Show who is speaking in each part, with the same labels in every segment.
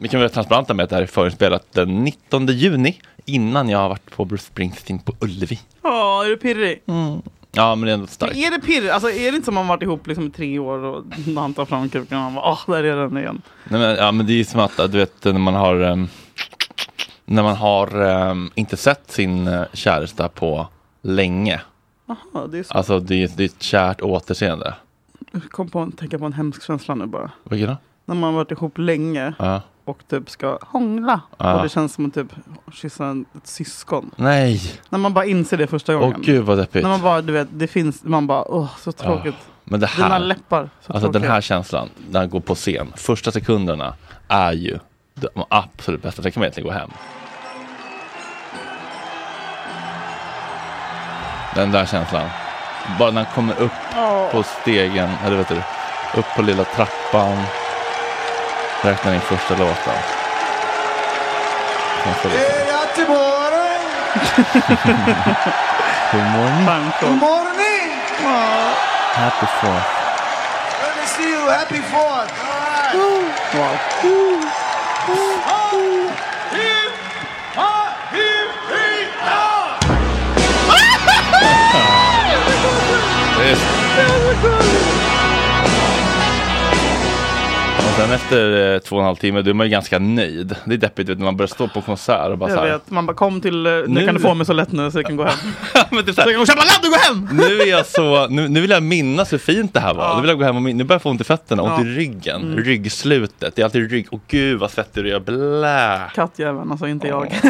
Speaker 1: Vi kan vara transparenta med att det här är förinspelat den 19 juni innan jag har varit på Bruce Springsteen på Ullevi.
Speaker 2: Ja, är du pirrig?
Speaker 1: Ja, men det är ändå starkt.
Speaker 2: Mm. Är det pirr? Alltså är det inte som om man varit ihop liksom i tre år och när han tar fram kuken och man bara åh, där är den igen.
Speaker 1: Nej, men, ja, men det är ju som att du vet när man har ehm, när man har ehm, inte sett sin eh, käresta på länge.
Speaker 2: Jaha, det är så.
Speaker 1: Alltså det är, det är ett kärt återseende.
Speaker 2: Jag kom på, tänka på en hemsk känsla nu bara.
Speaker 1: Vilket då?
Speaker 2: När man har varit ihop länge
Speaker 1: Ja.
Speaker 2: och typ ska hångla.
Speaker 1: Ja.
Speaker 2: Och det känns som att typ kyssa en- ett syskon.
Speaker 1: Nej,
Speaker 2: När man bara inser det första
Speaker 1: åh
Speaker 2: gången.
Speaker 1: gud vad deppigt.
Speaker 2: När man bara, du vet, det finns, man bara åh, så tråkigt.
Speaker 1: Men det
Speaker 2: Dina
Speaker 1: här,
Speaker 2: läppar, så
Speaker 1: alltså den
Speaker 2: tråkiga.
Speaker 1: här känslan när han går på scen, första sekunderna är ju de absolut bästa. Sen kan man egentligen gå hem. Den där känslan. Bara när han kommer upp
Speaker 2: Ja.
Speaker 1: på stegen, eller vet du, upp på lilla trappan. Räknar in första låten. Nästa låten. God morgon,
Speaker 2: Bangkok.
Speaker 1: happy fourth.
Speaker 2: Wow.
Speaker 1: Det är så Och sen efter eh, två och en halv timme, då är man ju ganska nöjd. Det är deppigt vet, du, när man börjar stå på konsert och bara
Speaker 2: Jag
Speaker 1: så här.
Speaker 2: vet, man bara kom till, eh, nu
Speaker 1: Nu-
Speaker 2: kan du få mig så lätt nu så jag kan gå hem.
Speaker 1: Men typ så här,
Speaker 2: Så jag kan gå och köpa ladd och gå hem!
Speaker 1: nu är jag så, nu, nu vill jag minnas hur fint det här var. Nu vill jag gå hem och min- nu börjar jag få ont i fötterna, ont i ryggen,
Speaker 2: Mm.
Speaker 1: ryggslutet. Det är alltid rygg, åh gud vad svettig du är, blä.
Speaker 2: Kattjäveln, alltså inte jag.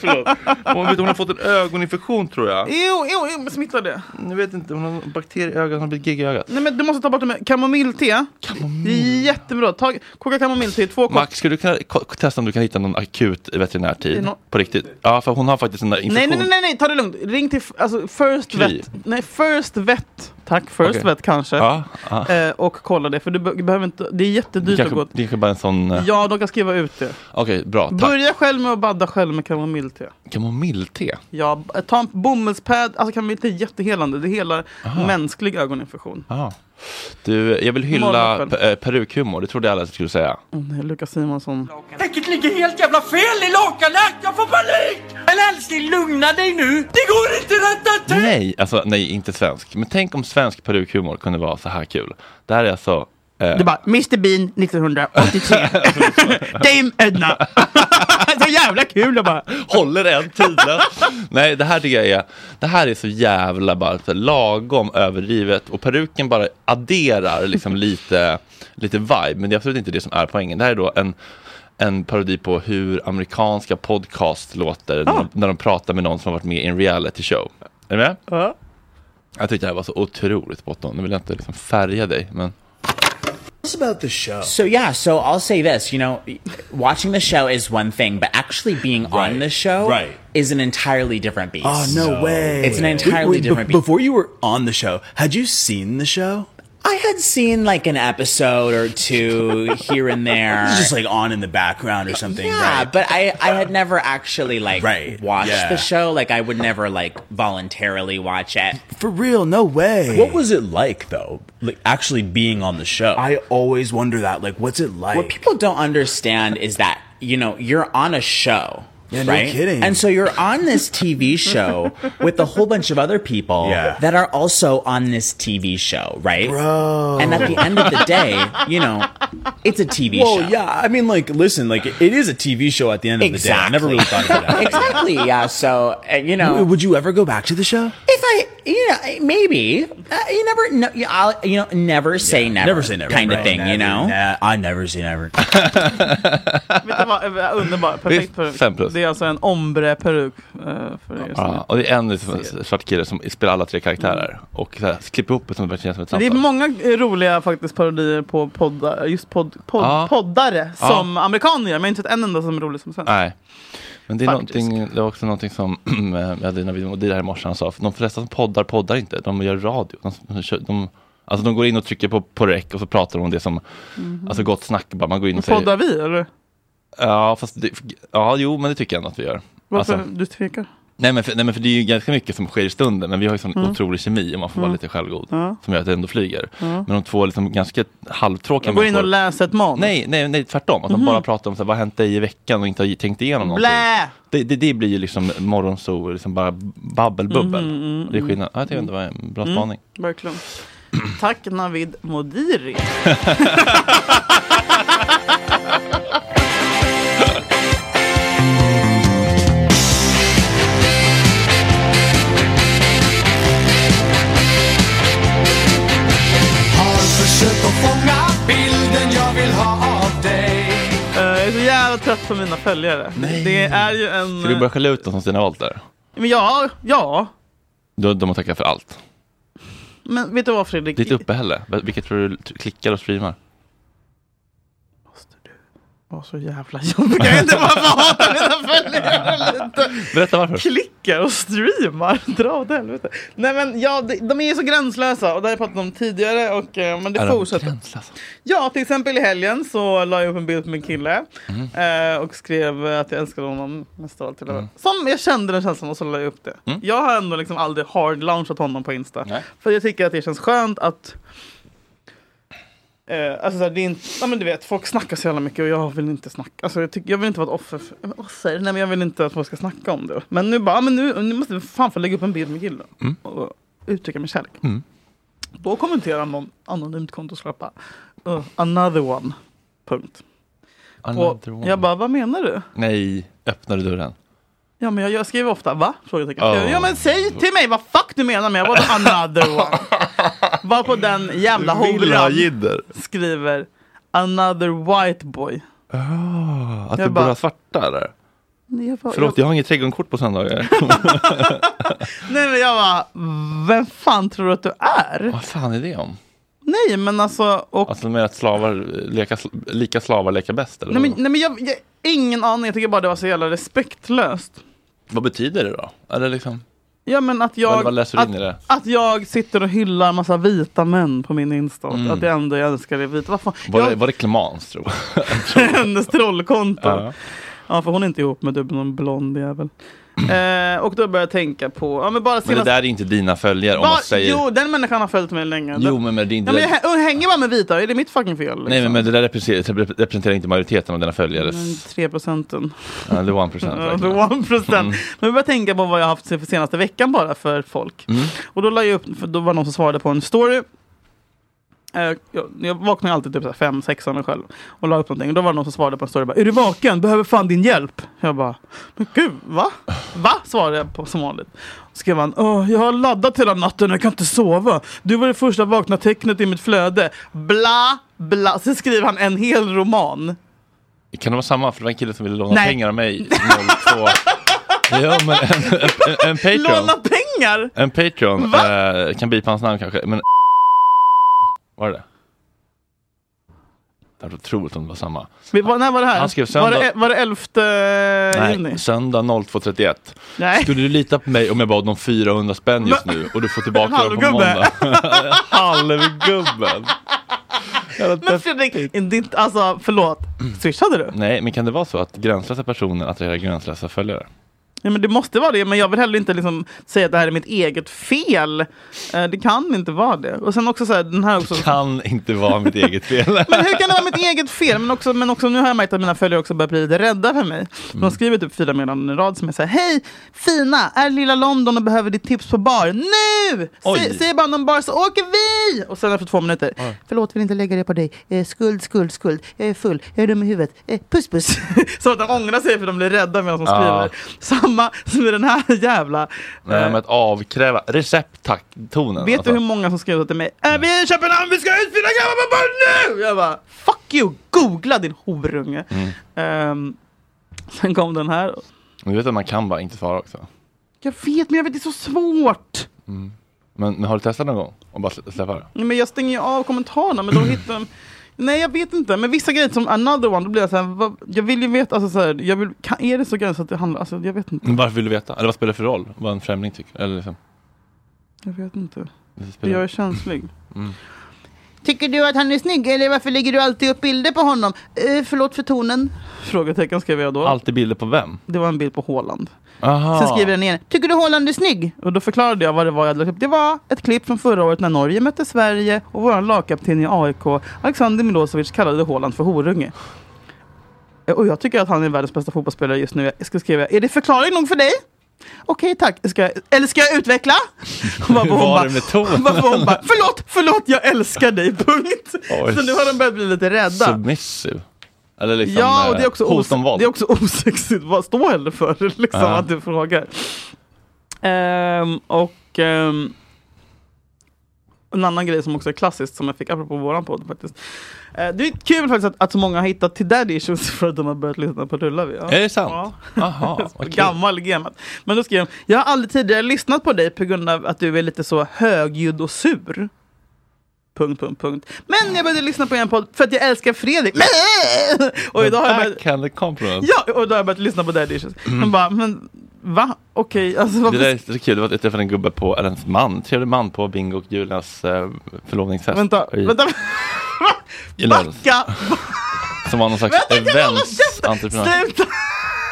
Speaker 1: Förlåt. Hon, vet, hon har fått en ögoninfektion tror jag.
Speaker 2: Jo, jo, jo, men smittar det.
Speaker 1: Jag vet inte, hon har en bakterie i ögat, hon har blivit gigg i ögat.
Speaker 2: Nej men du måste ta bort det med kamomillte. Det är jättebra. Ta, koka kamomillte i två koppar.
Speaker 1: Max, skulle du kunna ko- testa om du kan hitta någon akut veterinärtid?
Speaker 2: Nå-
Speaker 1: På riktigt? Ja, för hon har faktiskt en där infektion.
Speaker 2: Nej, nej, nej, nej, nej, ta det lugnt. Ring till f- alltså, First
Speaker 1: Kry.
Speaker 2: Vet. Nej, First Vet. Tack, First
Speaker 1: Okej.
Speaker 2: Vet kanske.
Speaker 1: Ja, ja.
Speaker 2: Eh, och kolla det, för du be- behöver inte, det är
Speaker 1: Det
Speaker 2: jättedyrt
Speaker 1: kanske,
Speaker 2: att
Speaker 1: det
Speaker 2: gå.
Speaker 1: kanske bara är en sån... eh,
Speaker 2: Ja, de kan skriva ut det.
Speaker 1: Okej, bra. Tack.
Speaker 2: Börja själv med att badda själv med kamomillte.
Speaker 1: Kamomillte?
Speaker 2: Ja, b- ta en bomullspad. Alltså kamomillte är jättehelande. Det helar mänsklig ögoninfektion.
Speaker 1: Ja. Du, jag vill hylla
Speaker 2: Morgonöppet.
Speaker 1: pe- eh, perukhumor. Det trodde jag alla skulle säga.
Speaker 2: Åh nej, Mm, Lukas Simonsson.
Speaker 3: Täcket ligger helt jävla fel i lakanet! Jag får panik! Men älskling, lugna dig nu! Det går inte rätta till!
Speaker 1: Nej, alltså nej, inte svensk. Men tänk om svensk perukhumor kunde vara så här kul. Det här är alltså... Eh,
Speaker 2: Det är bara Mr Bean 1983. Dame Edna. så jävla kul att bara.
Speaker 1: håller en tiden. nej, det här tycker jag är... Det här är så jävla bara så lagom överdrivet. Och peruken bara adderar liksom lite, lite vibe. Men det är absolut inte det som är poängen. Det här är då en... En parodi på hur amerikanska podcast låter när, de, när de pratar med någon som har varit med i en reality show. Är du med?
Speaker 2: Ja.
Speaker 1: Jag tyckte det här var så otroligt spot on. Nu vill jag inte liksom färga dig, men...
Speaker 4: So yeah, so I'll say this, you know, watching the show is one thing, but actually being on the show
Speaker 5: right.
Speaker 4: is an entirely different beast.
Speaker 5: Oh no, way!
Speaker 4: It's an entirely
Speaker 5: Wait, wait,
Speaker 4: different
Speaker 5: be-
Speaker 4: beat.
Speaker 5: Before you were on the show, had you seen the show?
Speaker 4: I had seen like an episode or two here and there.
Speaker 5: It was just like on in the background or something.
Speaker 4: yeah,
Speaker 5: right?
Speaker 4: but I, I had never actually like
Speaker 5: Right,
Speaker 4: watched
Speaker 5: yeah.
Speaker 4: the show. Like I would never like voluntarily watch it.
Speaker 5: For real, no way. What was it like though? Like actually being on the show. I always wonder that. Like, what's it like?
Speaker 4: What people don't understand is that, you know, you're on a show
Speaker 5: Yeah, no
Speaker 6: right?
Speaker 5: kidding.
Speaker 6: And so you're on this TV show with a whole bunch of other people
Speaker 5: Yeah.
Speaker 6: that are also on this TV show, right?
Speaker 5: Bro.
Speaker 6: And at the end of the day, you know, it's a TV
Speaker 5: Well,
Speaker 6: show.
Speaker 5: yeah. I mean, like, listen, like, it is a TV show at the end of the day. I never really thought about that.
Speaker 6: Exactly. Yeah. So uh, you know,
Speaker 5: W- Would you ever go back to the show?
Speaker 6: If I, you know, maybe uh, you never know. You, I'll, you know, never say never,
Speaker 5: Never say never.
Speaker 6: kind of
Speaker 5: Right.
Speaker 6: thing. you know,
Speaker 5: Never, Nah, I never say never.
Speaker 2: Vet du vad, eh, underbar, perfekt
Speaker 1: Visst,
Speaker 2: peruk.
Speaker 1: fem plus. Ah,
Speaker 2: Det är alltså en ombre-peruk eh, för er som
Speaker 1: Ja, och det är en liten svart kille som spelar alla tre karaktärer och så här, klipper ihop det som det känns som ett
Speaker 2: Det är
Speaker 1: samtal.
Speaker 2: många eh, roliga faktiskt parodier på poddar, just podd, podd,
Speaker 1: Ja.
Speaker 2: poddare
Speaker 1: Ja.
Speaker 2: som amerikaner gör, men jag har inte sett en enda som är rolig som svensk.
Speaker 1: Nej. Men det är
Speaker 2: Faktiskt.
Speaker 1: någonting, det var också någonting som eh, jag hade när vi var där i morse, han sa, "För de flesta som poddar poddar inte, de gör radio. De, de, kör- de, alltså de går in och trycker på, på rec och så pratar de om det som, alltså gott snack bara, man går in och
Speaker 2: Mhm. Poddar
Speaker 1: säger,
Speaker 2: vi eller?
Speaker 1: ja fast, det, ja jo men det tycker jag ändå att vi gör.
Speaker 2: Varför
Speaker 1: Alltså,
Speaker 2: du tvekar?
Speaker 1: nej, men för, nej men för det är ju ganska mycket som sker i stunden, men vi har ju sån
Speaker 2: Mm.
Speaker 1: otrolig kemi om man får vara lite självgod, som gör att det ändå flyger. Men de två liksom ganska halvtråkiga
Speaker 2: Jag går in och
Speaker 1: människor-
Speaker 2: läser ett manus.
Speaker 1: Nej, nej, nej, tvärtom. Att de bara pratar om så här, vad har hänt dig i veckan och inte har tänkt igenom någonting.
Speaker 2: Mhm. Blä!
Speaker 1: Det, det, det blir ju liksom morgonsol, liksom bara babbelbubbel.
Speaker 2: Mhm,
Speaker 1: det är skillnad. Ja, jag tycker det var en
Speaker 2: Mm.
Speaker 1: bra spaning.
Speaker 2: Verkligen. Tack Navid Modiri. Eh, Jag är så jävla trött på mina följare. Det är ju en...
Speaker 1: Ska vi börja skälla ut dem som Stina Wollter?
Speaker 2: Men ja, ja.
Speaker 1: De, de har tackat för allt.
Speaker 2: Men vet du vad Fredrik?
Speaker 1: Ditt uppehälle, Vil- vilket tror du t- klickar och streamar?
Speaker 2: Åh, så jävla jobbigt. Jag vet inte varför jag hatar mina följare lite.
Speaker 1: Berätta varför.
Speaker 2: Klickar och streamar. Dra åt helvete. Nej men ja, de, de är ju så gränslösa och det har jag pratat om tidigare. Och, eh, men det
Speaker 1: Är de
Speaker 2: fortsätter.
Speaker 1: gränslösa?
Speaker 2: Ja, till exempel i helgen så la jag upp en bild på min kille. Eh, och skrev eh, att jag älskade honom mest av allt. Mm. Som jag kände den känslan och så la jag upp det. Jag har ändå liksom aldrig hard launchat honom på Insta.
Speaker 1: Nej.
Speaker 2: För jag tycker att det känns skönt att Eh, alltså så här, det är inte, ja, men du vet, folk snackar så jävla mycket och jag vill inte snacka. Alltså, jag, tycker, jag vill inte vara ett offer för men offer. Nej, men jag vill inte att folk ska snacka om det. Men nu bara, ja, men nu, nu måste vi fan få lägga upp en bild med killen. Och uttrycka min kärlek. Då kommenterar någon anonymt konto och släppa. Uh, another one. Punkt. Och
Speaker 1: Another one.
Speaker 2: jag bara, vad menar du?
Speaker 1: Nej, öppnade dörren.
Speaker 2: Ja men jag, jag skriver ofta va? Frågetecken.
Speaker 1: Oh.
Speaker 2: Ja men säg till mig vad fuck du menar med vadå another one? Var på den jävla horan
Speaker 1: jidder.
Speaker 2: skriver another white boy.
Speaker 1: Att du
Speaker 2: bara-
Speaker 1: bara svarta eller?
Speaker 2: Nej, Jag bara,
Speaker 1: Förlåt, jag har inget trädgårdskort på söndagar.
Speaker 2: jag, nej men jag bara, vem fan tror du att du är?
Speaker 1: Vad fan är det om?
Speaker 2: Nej men alltså, och,
Speaker 1: Alltså med att slavar leka, sl- lika slavar leka bäst? Eller
Speaker 2: nej men,
Speaker 1: vadå?
Speaker 2: nej, men jag, jag, ingen aning, jag tycker bara det var så jävla respektlöst.
Speaker 1: Vad betyder det då? Eller liksom,
Speaker 2: Ja men att
Speaker 1: Vad-
Speaker 2: jag,
Speaker 1: vad läser du in i det?
Speaker 2: att, att jag sitter och hyllar massa vita män på min Insta. och
Speaker 1: Mm.
Speaker 2: Att det enda jag älskar är vita. Vad fan?
Speaker 1: var, det,
Speaker 2: jag,
Speaker 1: var det Clemence tro?
Speaker 2: hennes trollkonto.
Speaker 1: Ja.
Speaker 2: Ja, för hon är inte ihop med dubbel- någon blond jävel. Eh, och då började jag tänka på, ja men bara
Speaker 1: Men det
Speaker 2: senast...
Speaker 1: där är inte dina följare om
Speaker 2: Bara-
Speaker 1: man säger...
Speaker 2: Jo, den människan har följt mig länge.
Speaker 1: Jo,
Speaker 2: Den-
Speaker 1: men, men det är
Speaker 2: ja,
Speaker 1: inte...
Speaker 2: men jag hä- jag hänger bara med vita, är det mitt fucking fel? Liksom?
Speaker 1: Nej men, men det där representerar, representerar inte majoriteten av dina följare.
Speaker 2: Men 3 procenten.
Speaker 1: Ja, det är one percent.
Speaker 2: Mm. Ja, the one percent. Men jag började tänka på vad jag haft för senaste veckan bara för folk. Och då la jag upp, för då var det någon som svarade på en story. Eh, Jag, jag vaknar ju alltid typ så här fem, sex av mig själv och la upp någonting. Och då var det någon som svarade på en story bara, Är du vaken? Behöver fan din hjälp. Jag bara, men gud, va? Va? Svarade jag på som vanligt. Skrev han, Åh, jag har laddat hela natten och jag kan inte sova. Du var det första vakna tecknet i mitt flöde. Bla, bla. Sen skriver han en hel roman.
Speaker 1: Kan det vara samma? För det var en kille som ville låna
Speaker 2: Nej.
Speaker 1: pengar av mig. 02. ja men en, en, en Patreon.
Speaker 2: Låna pengar!
Speaker 1: En Patreon.
Speaker 2: Va?
Speaker 1: Eh, kan bipa hans namn kanske. Men... Var det det? Det hade varit otroligt om det var samma.
Speaker 2: Vi, var, när var det här?
Speaker 1: Han skrev söndag.
Speaker 2: Var det, var det 11 juni?
Speaker 1: Nej, söndag 02.31.
Speaker 2: Nej.
Speaker 1: Skulle du lita på mig om jag bad om 400 spänn just nu och du får tillbaka dem på
Speaker 2: Halvgubbe.
Speaker 1: måndag? Halvgubben! Jävla
Speaker 2: Men Fredrik, ditt,
Speaker 1: Mm.
Speaker 2: alltså förlåt. Swishade du?
Speaker 1: Nej, men kan det vara så att gränslösa personer attraherar gränslösa följare?
Speaker 2: Ja, men det måste vara det, men jag vill heller inte liksom säga att det här är mitt eget fel. Eh, det kan inte vara det. Och sen också så här, den här också.
Speaker 1: Kan inte vara mitt eget fel.
Speaker 2: Men hur kan det vara mitt eget fel? Men också, men också nu har jag märkt att mina följare också börjar bli lite rädda för mig.
Speaker 1: Mm.
Speaker 2: De skriver typ fyra meddelanden i rad som är så här, hej fina, är lilla London och behöver ditt tips på bar nu!
Speaker 1: Oj.
Speaker 2: Säg, säg bara någon bar så åker vi! Och sen efter två minuter, förlåt vill inte lägga det på dig, eh, skuld, skuld, skuld, jag är full, jag är dum i huvudet, eh, puss puss. så att de ångrar sig för de blir rädda medan de
Speaker 1: Ja.
Speaker 2: skriver. Samma som i den här jävla...
Speaker 1: Nej,
Speaker 2: eh,
Speaker 1: men att avkräva recept tack tonen. alltså.
Speaker 2: Vet du hur många som skrev till mig äh, Vi är i Köpenhamn, vi ska ut fyra grabbar på barn nu! Jag bara fuck you, googla din horunge. Ehm, sen kom den här.
Speaker 1: Du vet att man kan bara inte svara också.
Speaker 2: Jag vet men jag vet det är så svårt.
Speaker 1: Men, men har du testat någon gång? Och bara slä- släppa det?
Speaker 2: Nej, Men jag stänger ju av kommentarerna men då hittar de Nej jag vet inte, men vissa grejer som another one, då blir jag såhär, vad, jag vill ju veta, alltså såhär, jag vill, kan, är det så gränsat det handlar, alltså jag vet inte,
Speaker 1: Men varför vill du veta? Eller vad spelar det för roll? Vad en främling tycker? Eller liksom,
Speaker 2: jag vet inte.
Speaker 1: det spelar...
Speaker 2: Jag är känslig. Tycker du att han är snygg eller varför lägger du alltid upp bilder på honom? Eh, förlåt för tonen. Frågetecken skrev jag då.
Speaker 1: Alltid bilder på vem?
Speaker 2: Det var en bild på Haaland.
Speaker 1: Aha.
Speaker 2: Sen skriver den igen. Tycker du Haaland är snygg? Och då förklarade jag vad det var jag hade lagt upp. Det var ett klipp från förra året när Norge mötte Sverige och vår lagkapten i AIK, Alexander Milosevic, kallade Haaland för horunge. Eh, Och jag tycker att han är världens bästa fotbollsspelare just nu. Jag ska skriva, är det förklaring nog för dig? Okej tack, ska jag, eller ska jag utveckla? Och varpå hon
Speaker 1: Var
Speaker 2: bara-
Speaker 1: det med tonen?
Speaker 2: varpå hon bara, förlåt, förlåt, jag älskar dig, punkt.
Speaker 1: Oj.
Speaker 2: Så nu har de börjat bli lite rädda.
Speaker 1: Submissive. Eller liksom
Speaker 2: Ja, och det är
Speaker 1: eh,
Speaker 2: också,
Speaker 1: hot om
Speaker 2: os-
Speaker 1: våld.
Speaker 2: det är också osexigt. Vad står heller för liksom,
Speaker 1: Ja.
Speaker 2: att du frågar? Ehm, och ehm, en annan grej som också är klassiskt som jag fick apropå våran podd faktiskt. Eh, det är kul faktiskt att, att så många har hittat till daddy issues för att de har börjat lyssna på Rullar vi. Ja.
Speaker 1: Är det sant?
Speaker 2: Ja.
Speaker 1: Aha, vad kul.
Speaker 2: Gammal gamet. Men då skrev de, jag har aldrig tidigare lyssnat på dig på grund av att du är lite så högljudd och sur. Punkt, punkt, punkt. Men jag började lyssna på en podd för att jag älskar Fredrik. Och idag har jag börjat...
Speaker 1: Backhanded compliment.
Speaker 2: Ja, och då har jag börjat lyssna på Daddy Issues. Men bara, men va? Okej, alltså
Speaker 1: Mm. Det
Speaker 2: varför...
Speaker 1: där är så kul, det var att jag träffade en gubbe på, eller en man, trevlig man på Bingo och Julias eh, förlovningsfest.
Speaker 2: Vänta,
Speaker 1: i,
Speaker 2: vänta.
Speaker 1: I lördags.
Speaker 2: Backa!
Speaker 1: Som var någon slags
Speaker 2: Vänta, kan du hålla käften?
Speaker 1: eventsentreprenör.
Speaker 2: Sluta,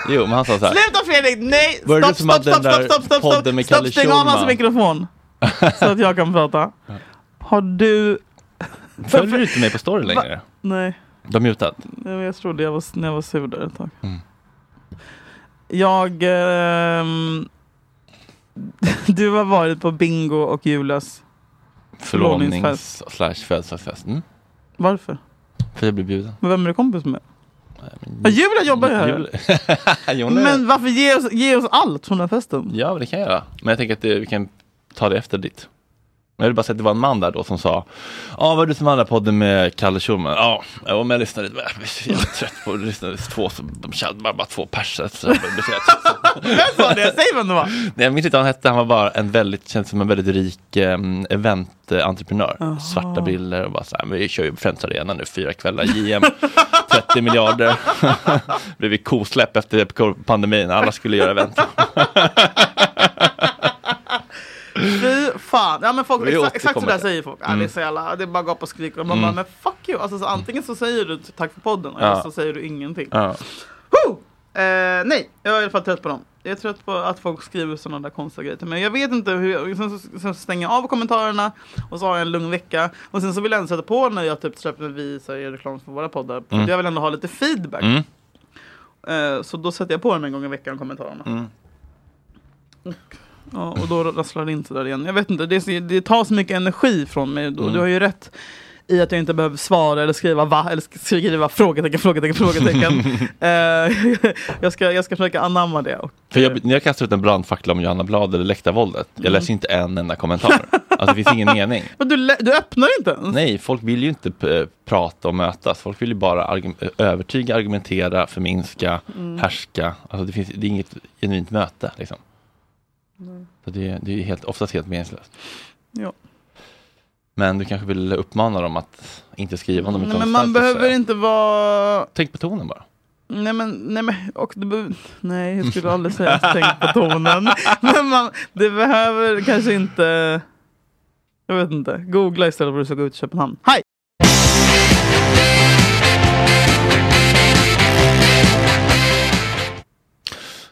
Speaker 1: Jo, men han sa så här.
Speaker 2: sluta Fredrik! Nej!
Speaker 1: Var det
Speaker 2: Stopp,
Speaker 1: du som hade
Speaker 2: stopp, stopp,
Speaker 1: den där
Speaker 2: stopp, stopp, stopp,
Speaker 1: podden
Speaker 2: stopp,
Speaker 1: med
Speaker 2: stopp,
Speaker 1: Kalle
Speaker 2: stäng av hans
Speaker 1: Schulman?
Speaker 2: mikrofon. Så att jag kan prata. Har du...
Speaker 1: Följer du inte mig på story längre?
Speaker 2: Nej,
Speaker 1: De har mutat.
Speaker 2: nej, men jag trodde jag var, när jag var sur där ett tag.
Speaker 1: Mm.
Speaker 2: Jag... ehm, du har varit på Bingo och Julas.
Speaker 1: Förlovnings
Speaker 2: Förlovningsfest.
Speaker 1: slash födelsedagsfest. Mm.
Speaker 2: Varför?
Speaker 1: För jag blev bjuden.
Speaker 2: Men vem är du kompis med? Ja, Julia jobbar ju här.
Speaker 1: Jul- Jo, nej.
Speaker 2: Men varför ge oss, ge oss allt från den här festen?
Speaker 1: Ja, men det kan jag göra. Men jag tänker att det, vi kan ta det efter ditt. Men Jag vill bara säga att det var en man där då som sa Ja, var du som hade podden med Kalle Schulman? Ja, jag var med och lyssnade. Jag blev så jävla trött på att lyssna. Det är Två, som- de kände bara, bara två personer. Så jag blev så jävla trött.
Speaker 2: Vem sa det? Säg vem det var!
Speaker 1: Nej, jag minns inte vad han hette. Han var bara en väldigt, känns som en väldigt rik um, evententreprenör. Svarta briller och bara så här, men vi kör ju Friends Arena nu, fyra kvällar, JM, 30 miljarder. Blev vi kosläpp efter pandemin, alla skulle göra event.
Speaker 2: Fy fan! Ja men folk,
Speaker 1: Vi
Speaker 2: exakt, exakt
Speaker 1: återkommer
Speaker 2: sådär
Speaker 1: till det.
Speaker 2: säger folk. Ja, det,
Speaker 1: Mm.
Speaker 2: är så jävla, det är bara gap och skrik. Och man bara, men fuck you! Alltså, så antingen så säger du tack för podden, eller
Speaker 1: Ja.
Speaker 2: så säger du ingenting.
Speaker 1: Ja.
Speaker 2: Huh! Eh, nej, jag är i alla fall trött på dem. Jag är trött på att folk skriver sådana där konstiga grejer till mig. Jag vet inte hur jag, sen, så, sen så stänger jag av kommentarerna och så har jag en lugn vecka. Och sen så vill jag ändå sätta på när jag typ släpper när vi så här gör reklam för våra poddar. För Jag vill ändå ha lite feedback.
Speaker 1: Mm.
Speaker 2: Eh, så då sätter jag på dem en gång i veckan, kommentarerna. Och, ja, och då rasslar det in så där igen. Jag vet inte, det, är så- det tar så mycket energi från mig. Du, du har ju rätt i att jag inte behöver svara eller skriva va, eller sk- skriva frågetecken, frågetecken, frågetecken. Eh, jag, ska, jag ska försöka anamma det. Och,
Speaker 1: För jag, när jag kastar ut en brandfackla om Johanna Blad eller läktarvåldet,
Speaker 2: Mm.
Speaker 1: jag läser inte en enda kommentar. Alltså det finns ingen mening.
Speaker 2: men du, lä- du öppnar inte ens?
Speaker 1: Nej, folk vill ju inte p- prata och mötas. Folk vill ju bara argu- eh, övertyga, argumentera, förminska,
Speaker 2: Mm.
Speaker 1: härska. Alltså det, finns, det är inget genuint möte. Liksom.
Speaker 2: Mm.
Speaker 1: Så det, det är helt, oftast helt meningslöst.
Speaker 2: Ja.
Speaker 1: Men du kanske vill uppmana dem att inte skriva om de inte
Speaker 2: Nej,
Speaker 1: har
Speaker 2: men
Speaker 1: något starkt
Speaker 2: man
Speaker 1: att
Speaker 2: behöver
Speaker 1: säga.
Speaker 2: inte vara...
Speaker 1: Tänk på tonen bara.
Speaker 2: Nej men, nej men, och du behöver... Nej, jag skulle aldrig säga att tänk på tonen. Men man, det behöver kanske inte... Jag vet inte. Googla istället för att gå ut i Köpenhamn. Hej!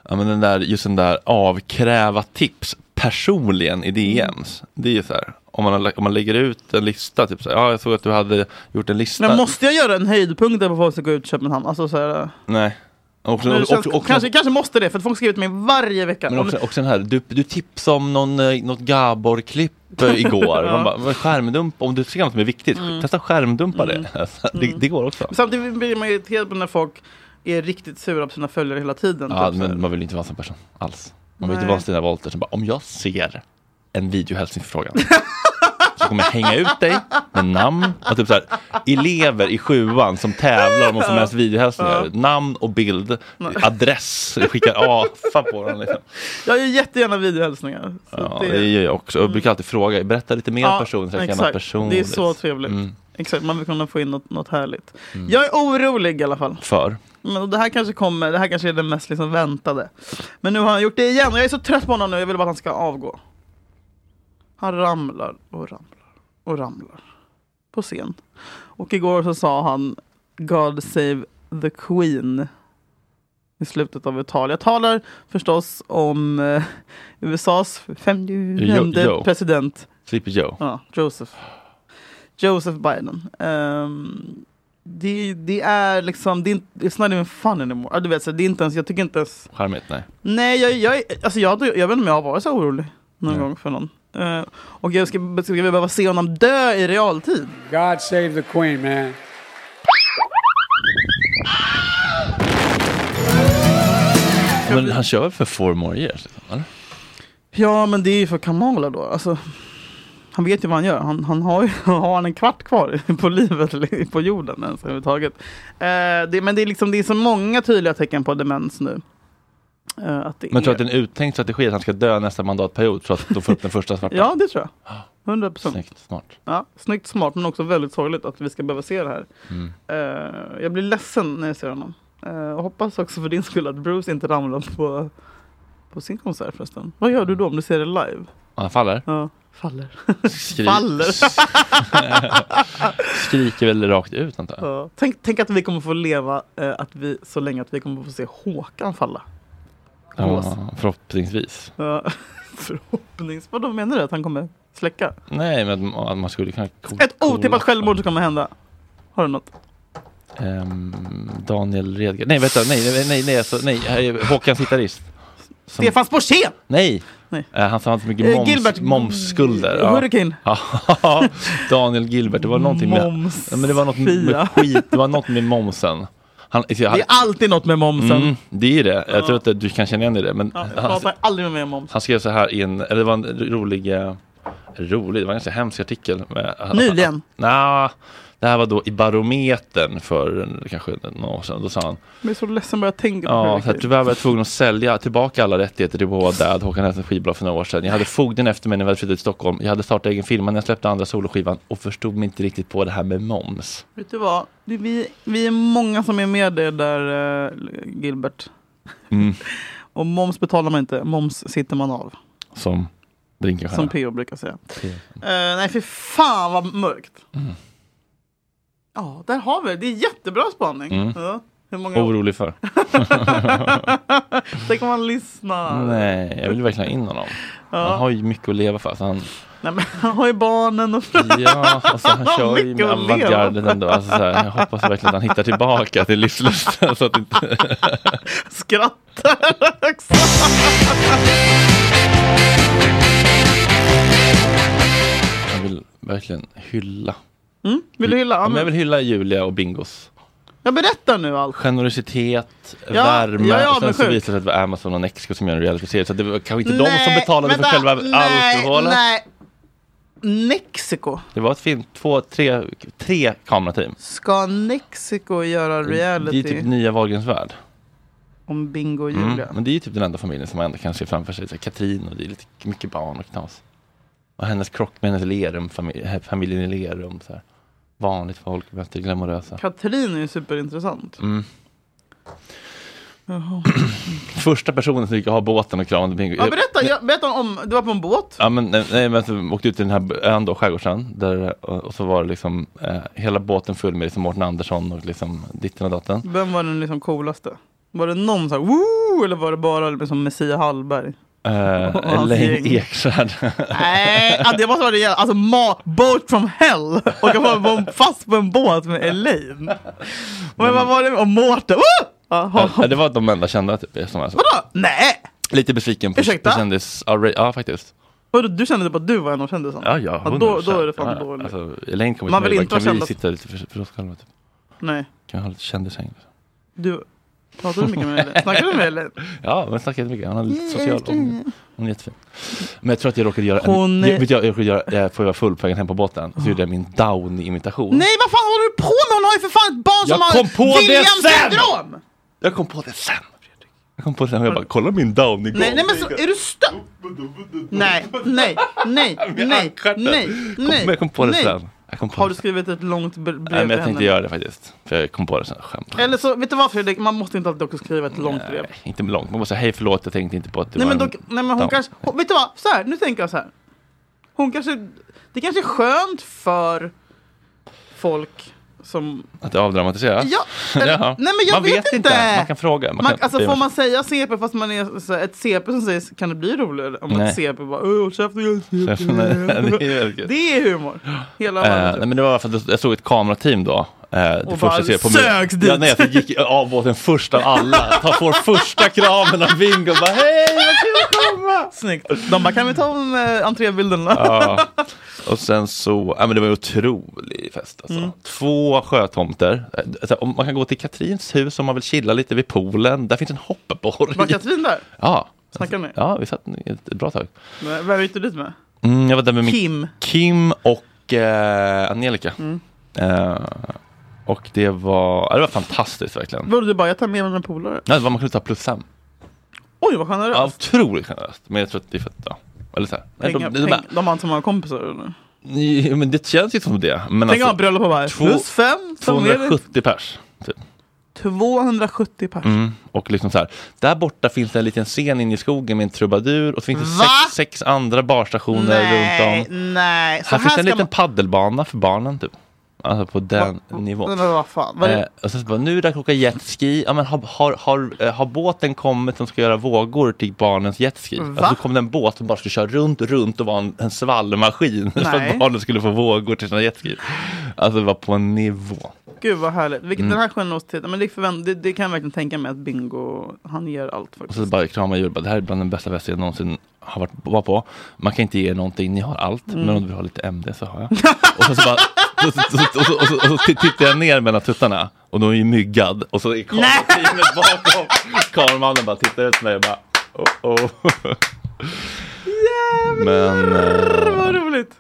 Speaker 1: Ja, ja, men den där, just den där avkräva tips personligen i DMs.
Speaker 2: Mm.
Speaker 1: Det är ju så här, om man, har lagt- om man lägger ut en lista, typ så här, ja jag såg att du hade gjort en lista.
Speaker 2: Men måste jag göra en höjdpunkt där på folk som går ut till Köpenhamn? Alltså, så här,
Speaker 1: Nej. Och,
Speaker 2: men
Speaker 1: och,
Speaker 2: det känns,
Speaker 1: och, och,
Speaker 2: kanske, kanske måste det, för att folk skriver till mig varje vecka.
Speaker 1: men
Speaker 2: Om-
Speaker 1: också, också den här, du, du tipsade om någon, eh, något Gabor-klipp eh, igår. Man bara, "Vad, skärmdump, om du ser något som är viktigt,
Speaker 2: Mm.
Speaker 1: testa skärmdumpa det. Alltså, det. Det går också.
Speaker 2: Samtidigt blir man irriterad på när folk är riktigt sura på sina följare hela tiden.
Speaker 1: Ja,
Speaker 2: typ, så här.
Speaker 1: men man vill inte vara en sån person alls. Man vill
Speaker 2: Nej.
Speaker 1: inte vara Stina Wollter som bara, om jag ser en videohälsningsförfrågan så kommer jag hänga ut dig med namn och typ så här, elever i sjuan som tävlar om vad som helst videohälsningar. Namn och bild, adress, skickar AFA på dem. Liksom.
Speaker 2: Jag gör jättegärna videohälsningar. Så
Speaker 1: Ja,
Speaker 2: det- Mm.
Speaker 1: det gör jag också. Och jag brukar alltid fråga, berätta lite mer om personen så jag kan Mm.
Speaker 2: exakt.
Speaker 1: känna personligt.
Speaker 2: Det är så trevligt. Exakt, man vill kunna få in något, något härligt.
Speaker 1: Mm.
Speaker 2: Jag är orolig i alla fall.
Speaker 1: För?
Speaker 2: Men och det här kanske kommer, det här kanske är det mest liksom väntade. Men nu har han gjort det igen och jag är så trött på honom nu, jag vill bara att han ska avgå. Han ramlar och ramlar och ramlar. På scen. Och igår så sa han God save the Queen. I slutet av ett tal. Jag talar förstås om eh, USAs
Speaker 1: Jo-
Speaker 2: femte
Speaker 1: jo.
Speaker 2: president
Speaker 1: Sleepy Joe.
Speaker 2: Ja, Joseph. Joseph Biden. Ehm, det, det är liksom, det är, inte- it's not even fun anymore. Ja, Du vet, så det är inte ens, jag tycker inte ens...
Speaker 1: Charmigt, nej.
Speaker 2: Nej, jag, jag, är- alltså jag, jag vet inte om jag har varit så orolig någon
Speaker 1: Nej.
Speaker 2: gång för någon. Eh, och jag ska, ska vi behöva se honom dö i realtid?
Speaker 7: God save the Queen, man.
Speaker 1: Men han kör väl för four more years? Liksom, eller?
Speaker 2: Ja, men det är ju för Kamala då. Alltså, han vet ju vad han gör. Han, han har, ju, har han en kvart kvar på livet, eller på jorden ens överhuvudtaget. Eh, det, men det är, liksom, det är så många tydliga tecken på demens nu. Eh, att det
Speaker 1: Men tror
Speaker 2: är...
Speaker 1: du att det är en uttänkt strategi att han ska dö nästa mandatperiod så att de får upp den första svarta?
Speaker 2: Ja, det tror jag. 100
Speaker 1: Ah.
Speaker 2: procent.
Speaker 1: Snyggt, smart.
Speaker 2: Ja, snyggt, smart, men också väldigt sorgligt att vi ska behöva se det här.
Speaker 1: Mm.
Speaker 2: Eh, jag blir ledsen när jag ser honom. Eh, och hoppas också för din skull att Bruce inte ramlar på, på sin konsert förresten. Vad gör du då om du ser det live?
Speaker 1: Han faller?
Speaker 2: Ja, faller.
Speaker 1: Skri-
Speaker 2: Faller.
Speaker 1: Skriker väl rakt ut antar jag.
Speaker 2: Ja. Tänk, tänk att vi kommer få leva eh, att vi, så länge att vi kommer få se Håkan falla. Gås.
Speaker 1: Ja, förhoppningsvis.
Speaker 2: Ja. Förhoppnings... Vadå menar du? Att han kommer släcka?
Speaker 1: Nej, men att man- att man skulle kunna... ko-
Speaker 2: Ett otippat
Speaker 1: kolla-
Speaker 2: självmord som kommer hända. Har du något?
Speaker 1: Ehm, Daniel Redgren. Nej, vänta. Nej, nej, nej. nej, alltså, nej. här är Håkans gitarrist. Som-
Speaker 2: Stefan Sporsén!
Speaker 1: Nej!
Speaker 2: Nej.
Speaker 1: Eh, han som hade så mycket
Speaker 2: Eh,
Speaker 1: moms,
Speaker 2: Gilbert-
Speaker 1: momsskulder. Ja.
Speaker 2: Hurricane.
Speaker 1: Ja, Daniel Gilbert. Det var någonting med...
Speaker 2: Moms.
Speaker 1: Ja, men det var något
Speaker 2: Fia.
Speaker 1: med skit. Det var något med momsen. Han, han,
Speaker 2: Det är alltid något med momsen.
Speaker 1: mm, det är det. Jag tror att du kan känna igen dig i det. Men
Speaker 2: Ja, jag
Speaker 1: han,
Speaker 2: pratar aldrig med mig om moms.
Speaker 1: Han skrev så här i en, eller det var en rolig, eh, rolig, det var en ganska hemsk artikel. Med,
Speaker 2: Nyligen.
Speaker 1: Nja, det här var då i Barometern för en- kanske några år sedan. Då sa han,
Speaker 2: Jag är så ledsen bara jag tänker på
Speaker 1: ja, så här,
Speaker 2: Hurricane.
Speaker 1: tyvärr var jag tvungen att sälja tillbaka alla rättigheter till vår dad, Håkan Hellströms skivbolag för några år sedan. Jag hade fogden efter mig när vi hade flyttat till Stockholm. Jag hade startat egen firma när jag släppte andra soloskivan och förstod mig inte riktigt på det här med moms.
Speaker 2: Vet du vad? Det, vi, vi är många som är med dig där, eh, Gilbert.
Speaker 1: Mm.
Speaker 2: Och moms betalar man inte, moms sitter man av.
Speaker 1: Som drinken
Speaker 2: Som
Speaker 1: själv.
Speaker 2: PO brukar säga.
Speaker 1: Mm.
Speaker 2: Eh, nej, för fan vad mörkt. Ja, där har vi det. Det är jättebra spaning.
Speaker 1: Mm.
Speaker 2: Ja. Hur många
Speaker 1: Orolig för?
Speaker 2: Tänk om man lyssnar.
Speaker 1: Nej, jag vill verkligen ha in honom. Han har ju mycket att leva för. Alltså han,
Speaker 2: Nej, men han har ju barnen och...
Speaker 1: Ja, och så han kör ju
Speaker 2: Mycket
Speaker 1: med
Speaker 2: att leva
Speaker 1: avantgarden ändå. Alltså, så här, jag hoppas verkligen att han hittar tillbaka till livslusten. Så att inte...
Speaker 2: skrattar också.
Speaker 1: Jag vill verkligen hylla.
Speaker 2: Vill du hylla? Ja,
Speaker 1: Ja, men jag
Speaker 2: men...
Speaker 1: vill hylla Julia och Bingos.
Speaker 2: Jag berättar nu allt.
Speaker 1: Generositet,
Speaker 2: Ja,
Speaker 1: värme
Speaker 2: ja, ja,
Speaker 1: och sen
Speaker 2: men
Speaker 1: så
Speaker 2: sjukt.
Speaker 1: visar det sig att det var Amazon och Nexco som gör en realityserie. Så det var kanske inte de som betalade för själva
Speaker 2: nej,
Speaker 1: alkoholen.
Speaker 2: Nej. Mexiko.
Speaker 1: Det var ett fint, två, tre, tre kamerateam.
Speaker 2: Ska Mexiko göra
Speaker 1: Det är
Speaker 2: reality
Speaker 1: typ nya Wahlgrens värld.
Speaker 2: om Bingo och
Speaker 1: Mm.
Speaker 2: Julia?
Speaker 1: Men det är ju typ den enda familjen som man ändå kan se framför sig. Så här, Katrin och det är lite mycket barn och knas. Och hennes krock med hennes Lerum, famil- eh, familjen i Lerum. Så här. Vanligt folk möter glamorösa.
Speaker 2: Katrin är ju superintressant.
Speaker 1: Mm. Första personen som gick och ha båten och kramade Bingo.
Speaker 2: Ja, berätta, jag, berätta om, du var på en båt.
Speaker 1: Ja, men, nej, nej, men så åkte ut till den här ön då, skärgårdsön. Där, och, och så var det liksom eh, hela båten full med liksom Mårten Andersson och liksom ditten och datten.
Speaker 2: Vem var den liksom coolaste? Var det någon såhär, woo, crew eller var det bara liksom Messiah Hallberg?
Speaker 1: Eh,
Speaker 2: Och hans
Speaker 1: Elaine
Speaker 2: gäng.
Speaker 1: Eksvärd.
Speaker 2: Nej, ja, det måste vara det jävla- Alltså, ma- boat from hell! Och jag var på en- fast på en båt med Elaine. Men vad var det? Och Mårten. Woo! Jaha.
Speaker 1: Eh, det var de enda kända typ, som jag såg.
Speaker 2: Vadå? Nej!
Speaker 1: Lite besviken på, på
Speaker 2: Ursäkta?
Speaker 1: kändis... Ja, ra- ja, faktiskt.
Speaker 2: Vadå, du kände typ att du var en av kändisarna?
Speaker 1: Ja, ja,
Speaker 2: då, då är det
Speaker 1: 100%.
Speaker 2: fan
Speaker 1: Ja,
Speaker 2: dåligt.
Speaker 1: Alltså, Elaine kommer
Speaker 2: Man
Speaker 1: till mig
Speaker 2: vill
Speaker 1: och
Speaker 2: inte
Speaker 1: bara,
Speaker 2: vara
Speaker 1: kan vi
Speaker 2: känd-
Speaker 1: sitta lite för, för oss själva? Typ?
Speaker 2: Nej,
Speaker 1: Kan vi ha lite kändishäng?
Speaker 2: du pratar du mycket med Elaine? Snackar du med Elaine?
Speaker 1: Ja, men snackar jättemycket. Han har lite social ångest. Hon är jättefin. Men jag tror att jag råkade göra... En,
Speaker 2: Hon är-
Speaker 1: jag, vet jag, jag råkade göra, eh, för jag var full på vägen hem på båten, så gjorde jag min Downey-imitation.
Speaker 2: Nej, vad fan håller du på med? Hon har ju för fan ett barn
Speaker 1: Jag
Speaker 2: som har
Speaker 1: kom på det sen!
Speaker 2: Williams-syndrom!
Speaker 1: Jag kom på det sen! Jag kom på det sen och jag bara, kolla min Downey
Speaker 2: Nej, nej men alltså, så, är du stö... Nej, nej, nej, nej, nej, nej.
Speaker 1: Men jag kom på det
Speaker 2: nej.
Speaker 1: sen. Jag kom på
Speaker 2: Har
Speaker 1: det
Speaker 2: du
Speaker 1: sen.
Speaker 2: skrivit ett långt bre-
Speaker 1: Nej,
Speaker 2: brev
Speaker 1: men
Speaker 2: till
Speaker 1: jag tänkte
Speaker 2: henne?
Speaker 1: göra det faktiskt. För jag kom på det sen. Skämt.
Speaker 2: Eller så, vet du vad Fredrik? Man måste inte alltid också skriva ett långt brev.
Speaker 1: Nej, inte långt. Man bara säga hej förlåt, jag tänkte inte på att det
Speaker 2: Nej
Speaker 1: var
Speaker 2: men, då,
Speaker 1: en
Speaker 2: nej, men hon
Speaker 1: down.
Speaker 2: kanske, hon, vet du vad? Så här, nu tänker jag så här. Hon kanske, det kanske är skönt för folk som,
Speaker 1: Att det avdramatiserar?
Speaker 2: ja, eller,
Speaker 1: Jaha.
Speaker 2: nej men jag
Speaker 1: man vet inte. Man kan fråga.
Speaker 2: Man,
Speaker 1: kan-
Speaker 2: alltså
Speaker 1: det-
Speaker 2: får man säga CP fast man är så här, ett CP som säger kan det bli roligare? Om
Speaker 1: Nej.
Speaker 2: ett CP bara åh käften jag är
Speaker 1: Nej,
Speaker 2: CP.
Speaker 1: det är väldigt kul.
Speaker 2: Det är humor. Hela
Speaker 1: Eh,
Speaker 2: världen. typ.
Speaker 1: nej, men det var för att jag såg ett kamerateam då. Eh, det
Speaker 2: Och
Speaker 1: första
Speaker 2: bara
Speaker 1: jag ser på
Speaker 2: sögs dit.
Speaker 1: Ja, nej, jag gick av båten först av alla. Ta, får första kramen av Bingo. Bara, hej, vad kul att komma!
Speaker 2: Snyggt. De bara kan vi ta om eh, entrébilderna?
Speaker 1: Ja. Och sen så, ja, men det var en otrolig fest alltså.
Speaker 2: Mm.
Speaker 1: Två sjötomter. Eh, Alltså, om man kan gå till Katrins hus om man vill chilla lite vid poolen. Där finns en hoppborg.
Speaker 2: Var Katrin där?
Speaker 1: Ja.
Speaker 2: Snackar ni?
Speaker 1: Ja, vi satt ett, ett bra tag.
Speaker 2: Nej, Vem gick du dit med?
Speaker 1: Mm, jag var där med min
Speaker 2: Kim.
Speaker 1: Kim och eh, Angelica.
Speaker 2: Mm.
Speaker 1: Eh, och det var, ja, det var fantastiskt verkligen.
Speaker 2: Borde du bara jag tar med mig mina polare?
Speaker 1: Nej, det var, man kunde ta plus fem.
Speaker 2: Oj vad
Speaker 1: Ja,
Speaker 2: generöst.
Speaker 1: otroligt generöst. Men jag tror att det är för att, ja. Eller så här. Nej,
Speaker 2: Pengar,
Speaker 1: de, de,
Speaker 2: peng, de har inte så många kompisar eller?
Speaker 1: de, men det känns ju som det. Men
Speaker 2: Tänk om
Speaker 1: alltså,
Speaker 2: bröllop och bara
Speaker 1: två-
Speaker 2: plus fem, som är
Speaker 1: 270 pers. Typ.
Speaker 2: 270 pers.
Speaker 1: Mm. Och liksom så här, där borta finns det en liten scen inne i skogen med en trubadur och så finns det
Speaker 2: Va?
Speaker 1: sex, sex andra barstationer
Speaker 2: Nej,
Speaker 1: runt om.
Speaker 2: nej. Så
Speaker 1: här, finns det en
Speaker 2: ska
Speaker 1: liten paddelbana för barnen typ. Alltså på den nivån.
Speaker 2: man... Men vad fan. Var det...
Speaker 1: Eh, och sen så bara, nu är det dags att åka jetski. Ja, men har, har, har, eh, har båten kommit som ska göra vågor till barnens jetski?
Speaker 2: Va?
Speaker 1: Alltså, så kom det en båt som bara skulle köra runt, runt och vara en, en svallmaskin. för att
Speaker 2: Nej.
Speaker 1: barnen skulle få vågor till sina jetski. Alltså det var på en nivå.
Speaker 2: Gud vad härligt. Vilket,
Speaker 1: mm.
Speaker 2: Den här generositeten, men det, förvänt, det, det kan jag verkligen tänka mig att Bingo, han ger allt
Speaker 1: Och så
Speaker 2: faktiskt.
Speaker 1: bara kramade jag och bara, det här är bland den bästa festen jag någonsin har varit var på. Man kan inte ge er någonting, ni har allt. Men om du vill ha lite MD så har jag. och sen så bara, och så, och så, och så, och så, och så, t- tittar jag ner mellan tuttarna. Och de är ju myggad. Och så är kamerateamet bakom. Kameramannen bara tittar ut på mig och bara, oh oh. men eh,
Speaker 2: Vad roligt!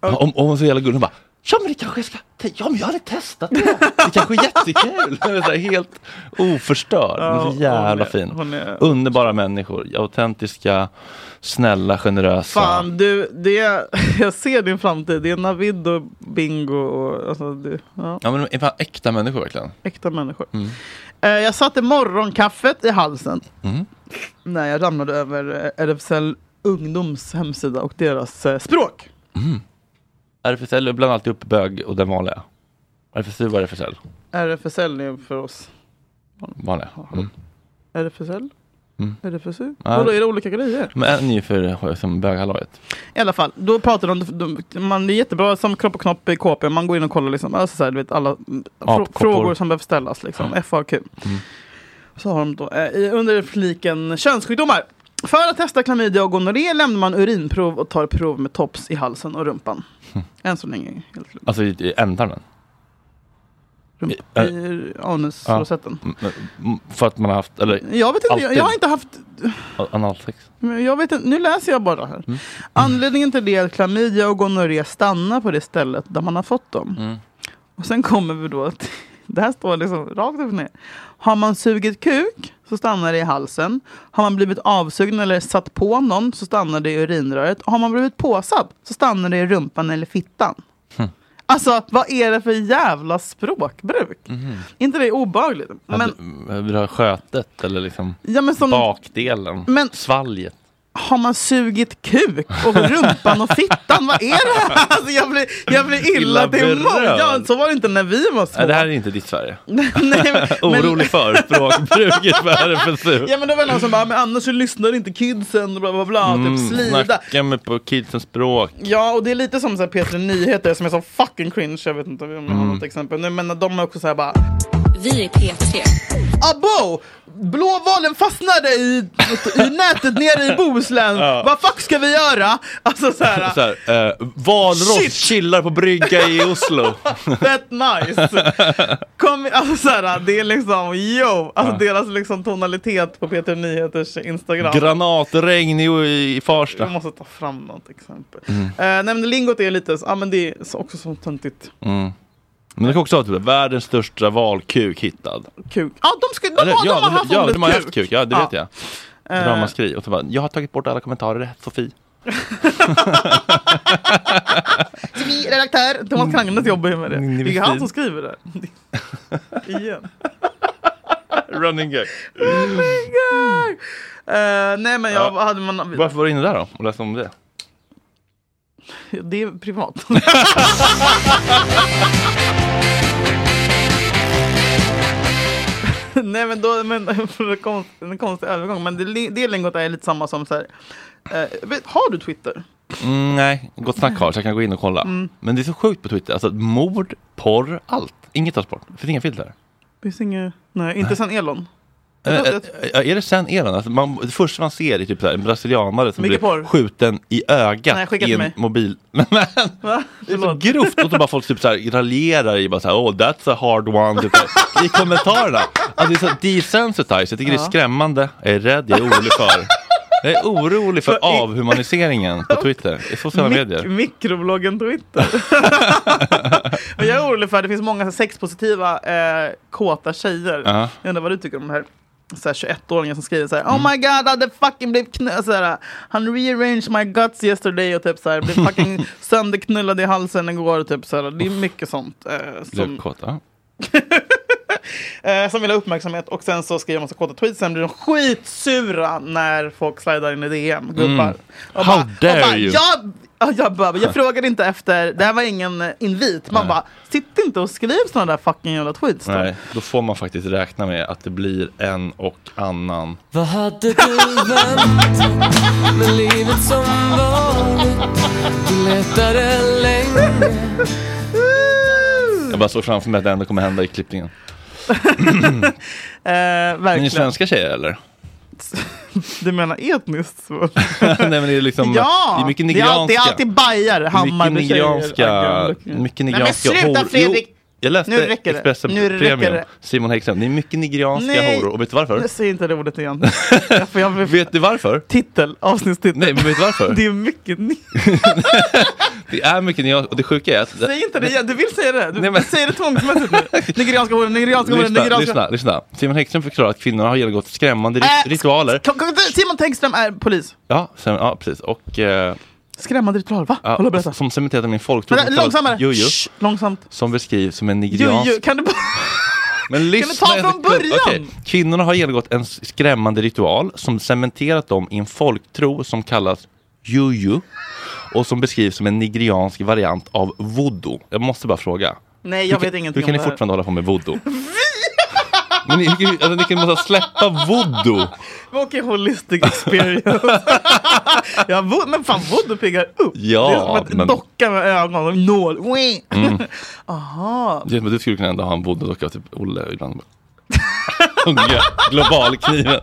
Speaker 1: om, om hon så jävla gullig, hon bara, ja men det kanske jag ska, te- ja men jag hade testat det. här. Det kanske är jättekul. Det är så här helt oförstörd. Hon är så jävla
Speaker 2: hon är-
Speaker 1: fin.
Speaker 2: Hon är...
Speaker 1: Underbara människor, autentiska, snälla, generösa.
Speaker 2: Fan du, det är, jag ser din framtid. Det är Navid och Bingo och alltså, det, ja,
Speaker 1: Ja, men de är fan äkta människor verkligen.
Speaker 2: äkta människor.
Speaker 1: Mm.
Speaker 2: Eh, jag satte morgonkaffet i halsen
Speaker 1: Mm.
Speaker 2: när jag ramlade över eh, RFSL Ungdoms hemsida och deras eh, språk.
Speaker 1: RFSL bland alltid upp bög och den vanliga. RFSU var RFSL.
Speaker 2: RFSL är för oss.
Speaker 1: Vanliga. Mm.
Speaker 2: RFSL?
Speaker 1: Mm.
Speaker 2: RFSU?
Speaker 1: Ja.
Speaker 2: Vadå, är det olika grejer?
Speaker 1: Men en är ju för som böghalvåret.
Speaker 2: I alla fall, då pratar de, de man, det är jättebra som kropp och knopp i KP, man går in och kollar liksom, alltså så här, du vet, alla mm, frå,
Speaker 1: Apkoppor. Mm.
Speaker 2: frågor som behöver ställas, liksom, FAQ. Så har de då, eh, i- under fliken könssjukdomar. För att testa klamydia och gonorré lämnar man urinprov och tar prov med tops i halsen och rumpan.
Speaker 1: Hm.
Speaker 2: Än så länge, helt lugnt.
Speaker 1: Alltså i, i ändtarmen.
Speaker 2: Rump,
Speaker 1: Eh,
Speaker 2: I anusrosetten.
Speaker 1: Mm, mm, För att man har haft, eller
Speaker 2: Jag vet inte, jag,
Speaker 1: Alltid.
Speaker 2: jag har inte haft
Speaker 1: analsex.
Speaker 2: Men Jag vet inte, nu läser jag bara här. Anledningen till det är att klamydia och gonorré stannar på det stället där man har fått dem. Och sen kommer vi då till, det här står liksom rakt upp och ner. Har man sugit kuk så stannar det i halsen. Har man blivit avsugen eller satt på någon så stannar det i urinröret. Har man blivit påsatt så stannar det i rumpan eller fittan. Alltså vad är det för jävla språkbruk? Inte det är obehagligt? Men,
Speaker 1: Eh, Men... Vill du ha skötet eller liksom
Speaker 2: ja, men som,
Speaker 1: bakdelen,
Speaker 2: Men-
Speaker 1: svalget?
Speaker 2: har man sugit kuk och rumpan och fittan? Vad är det här? Alltså jag blir, jag blir illa
Speaker 1: Illa
Speaker 2: till mods.
Speaker 1: berörd.
Speaker 2: Ja, så var det inte när vi var små.
Speaker 1: Nej, det här är inte ditt Sverige.
Speaker 2: Nej, men-
Speaker 1: Orolig för språkbruket på RFSU.
Speaker 2: Ja men det var någon som bara, men annars så lyssnar inte kidsen och bla bla bla, typ slida.
Speaker 1: Mm, Snacka med på kidsens språk.
Speaker 2: Ja och det är lite som så här P3 Nyheter som är så fucking cringe, jag vet inte om jag har
Speaker 1: Mm.
Speaker 2: något exempel nu men de är också så här bara
Speaker 8: Vi är P3.
Speaker 2: Abo! Blåvalen fastnade i, i nätet nere i Bohuslän, vad fuck ska vi göra? Alltså så här,
Speaker 1: Så här, eh, valross
Speaker 2: Shit!
Speaker 1: chillar på brygga i Oslo.
Speaker 2: fett nice! Kom, alltså så här, det är liksom yo, alltså deras liksom tonalitet på P3 Nyheters Instagram.
Speaker 1: Granatregn i, i
Speaker 2: Jag
Speaker 1: Farsta.
Speaker 2: måste ta fram något exempel. Mm. nej, men lingot är lite, ja men det är så- också så töntigt
Speaker 1: Mm. Men det kan också vara typ världens största valkuk hittad.
Speaker 2: kuk. Ja, de, ska, de,
Speaker 1: Eller,
Speaker 2: har- de
Speaker 1: ja,
Speaker 2: har haft
Speaker 1: ja,
Speaker 2: ordet
Speaker 1: de har haft kuk. Ja, det
Speaker 2: Ja. eh,
Speaker 1: vet jag. Ramaskri. Och så bara, jag har tagit bort alla kommentarer, Sofie.
Speaker 2: Vi redaktör Thomas Krangnes jobbar ju med det.
Speaker 1: Mm, det är
Speaker 2: Det är han
Speaker 1: fint.
Speaker 2: som skriver det. Igen.
Speaker 1: Running gag.
Speaker 2: Eh, nej men jag
Speaker 1: Ja.
Speaker 2: hade man...
Speaker 1: Varför var du inne där då och läste om det?
Speaker 2: Det är privat. Nej men då, men för en konst, en konstig övergång. Men det, li- det lingot är lite samma som så här. eh, vet, har du Twitter?
Speaker 1: Mm, nej, Gott Snack har så jag kan gå in och kolla.
Speaker 2: Mm.
Speaker 1: Men det är så sjukt på Twitter. Alltså mord, porr, allt. Inget tas bort. Det finns inga filter.
Speaker 2: Finns inget... Nej, inte sen Elon.
Speaker 1: Eh,
Speaker 2: Jag-
Speaker 1: eh, eh, är det sen Elon? Alltså man, det första man ser är typ så här, en brasilianare som
Speaker 2: Mycket
Speaker 1: blir
Speaker 2: porr.
Speaker 1: skjuten i
Speaker 2: Nej,
Speaker 1: ögat
Speaker 2: skicka
Speaker 1: i
Speaker 2: till
Speaker 1: en
Speaker 2: mig.
Speaker 1: mobil. Men, men,
Speaker 2: Va?
Speaker 1: det är så
Speaker 2: Förlåt.
Speaker 1: grovt och så bara folk typ så här, raljerar i bara så här, oh that's a hard one typ, så här, i kommentarerna. Alltså, det är så desensitized, jag tycker det är skrämmande. Jag är rädd, jag är orolig för. Jag är orolig för avhumaniseringen på Twitter, i sociala
Speaker 2: Mik-
Speaker 1: medier.
Speaker 2: mikrobloggen Twitter. Men jag är orolig för att det finns många så här sexpositiva eh, kåta tjejer.
Speaker 1: Ja.
Speaker 2: Jag undrar vad du tycker om det här. Så här 21-åringar som skriver så här
Speaker 1: Mm.
Speaker 2: Oh my god, I hade fucking blev knö... Så här, Han rearranged my guts yesterday och typ så här blev fucking sönderknullad i halsen igår och typ så här. Det är mycket sånt eh, som,
Speaker 1: Lövkåt, ja.
Speaker 2: eh, som vill ha uppmärksamhet och sen så skriver man så kåta tweets sen blir de skitsura när folk slidar in i DM, gubbar. Och
Speaker 1: Mm. How dare
Speaker 2: och bara,
Speaker 1: you.
Speaker 2: Jag, ja, jag, bara, jag frågade inte efter, det här var ingen eh, invit. Man bara, sitt inte och skriv sådana där fucking jävla tweets då.
Speaker 1: Nej, då får man faktiskt räkna med att det blir en och annan.
Speaker 9: Vad hade du vänt med livet som vanligt? Du letade länge
Speaker 1: Jag bara såg framför mig att det ändå kommer hända i klippningen.
Speaker 2: Eh,
Speaker 1: Men ni är
Speaker 2: verkligen.
Speaker 1: svenska tjejer eller?
Speaker 2: Du menar etniskt? Så.
Speaker 1: Nej men det är liksom,
Speaker 2: Ja!
Speaker 1: det är mycket
Speaker 2: det, är alltid,
Speaker 1: nigerianska.
Speaker 2: det är alltid bajare,
Speaker 1: mycket
Speaker 2: Hammarbytjejer.
Speaker 1: nigerianska, mycket
Speaker 2: Nej men
Speaker 1: nigerianska
Speaker 2: sluta
Speaker 1: horor.
Speaker 2: Fredrik!
Speaker 1: Jo, jag läste
Speaker 2: Nu räcker det.
Speaker 1: Expressen
Speaker 2: Nu räcker
Speaker 1: Premium,
Speaker 2: det.
Speaker 1: Simon Häggström. Det är mycket nigerianska
Speaker 2: Nej.
Speaker 1: horor. Och vet du varför?
Speaker 2: Nu säger inte det ordet igen. Ja, för jag vill...
Speaker 1: Vet du varför?
Speaker 2: Titel, avsnittstitel.
Speaker 1: Nej, men vet du varför?
Speaker 2: Det är mycket ni-
Speaker 1: Det är mycket nigerianska, och det sjuka är att...
Speaker 2: Säg inte det igen, du vill säga det. Du
Speaker 1: Nej, men-
Speaker 2: säger det tvångsmässigt nu. Nigerianska horor, nigerianska horor,
Speaker 1: Lyssna,
Speaker 2: nigerianska...
Speaker 1: lyssna, lyssna. Simon Häggström förklarar att kvinnorna har genomgått skrämmande rit-
Speaker 2: Äh,
Speaker 1: ritualer.
Speaker 2: Kom- kom- Simon Tengström är polis.
Speaker 1: Ja, sen, ja, precis. Och... Eh,
Speaker 2: Skrämmande ritual, va?
Speaker 1: ja,
Speaker 2: Håll och berätta.
Speaker 1: som cementerat i min folktro.
Speaker 2: Vänta, långsammare!
Speaker 1: Jojo.
Speaker 2: Shh, långsamt.
Speaker 1: Som beskrivs som en nigeriansk
Speaker 2: Jojo, kan du bara...
Speaker 1: Men lyssna,
Speaker 2: ta från början?
Speaker 1: Okej. Kvinnorna har genomgått en skrämmande ritual som cementerat dem i en folktro som kallas juju och som beskrivs som en nigeriansk variant av voodoo. Jag måste bara fråga.
Speaker 2: Nej, jag
Speaker 1: Hur
Speaker 2: vet
Speaker 1: kan-
Speaker 2: ingenting
Speaker 1: Hur kan
Speaker 2: om
Speaker 1: ni
Speaker 2: det här.
Speaker 1: fortfarande hålla på med voodoo? Men ni, hur- alltså, ni kan måste släppa voodoo.
Speaker 2: Men Okej, holistic experience. ja, vo- men fan, voodoo piggar upp.
Speaker 1: Ja,
Speaker 2: det är som en
Speaker 1: men- Mm.
Speaker 2: docka med ögon och nål. Wee.
Speaker 1: Det är som att du skulle kunna ändå ha en voodoo-docka, typ Olle ibland. Unga, globalkniven.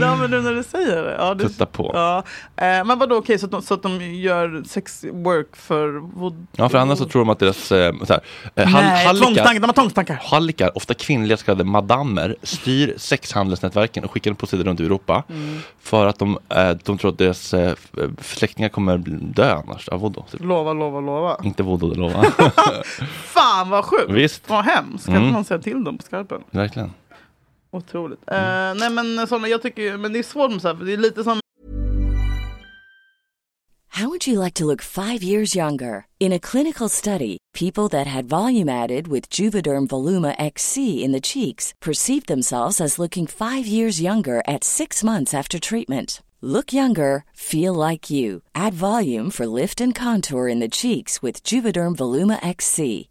Speaker 2: Ja, men nu när du säger det. Ja, det
Speaker 1: Titta på.
Speaker 2: Ja. Eh, men vadå, okej, så, att de- så att de gör sex work för voodoo?
Speaker 1: Ja, för annars så tror de att deras eh, så här, eh, hall-
Speaker 2: Nej,
Speaker 1: hallikar-
Speaker 2: tvångstankar. De har tvångstankar.
Speaker 1: hallikar, ofta kvinnliga så kallade madammer, styr sexhandelsnätverken och skickar dem på sidor runt i Europa för att de, eh, de tror att deras eh, f- eh, släktingar kommer bli- dö annars av voodoo. Typ.
Speaker 2: Lova, lova, lova.
Speaker 1: Inte voodoo, det lovar jag.
Speaker 2: Fan vad sjukt!
Speaker 1: Visst. Mm.
Speaker 2: Vad hemskt! Kan inte någon säga till dem på skarpen?
Speaker 1: Verkligen.
Speaker 2: Otroligt. Eh, nej men sådana, jag tycker ju- men det är svårt med så här, för det är lite som
Speaker 10: How would you like to look five years younger? In a clinical study, people that had volume added with Juvederm Voluma XC in the cheeks perceived themselves as looking five years younger at six months after treatment.
Speaker 4: Look younger, feel like you. Add volume for lift and contour in the cheeks with Juvederm Voluma XC.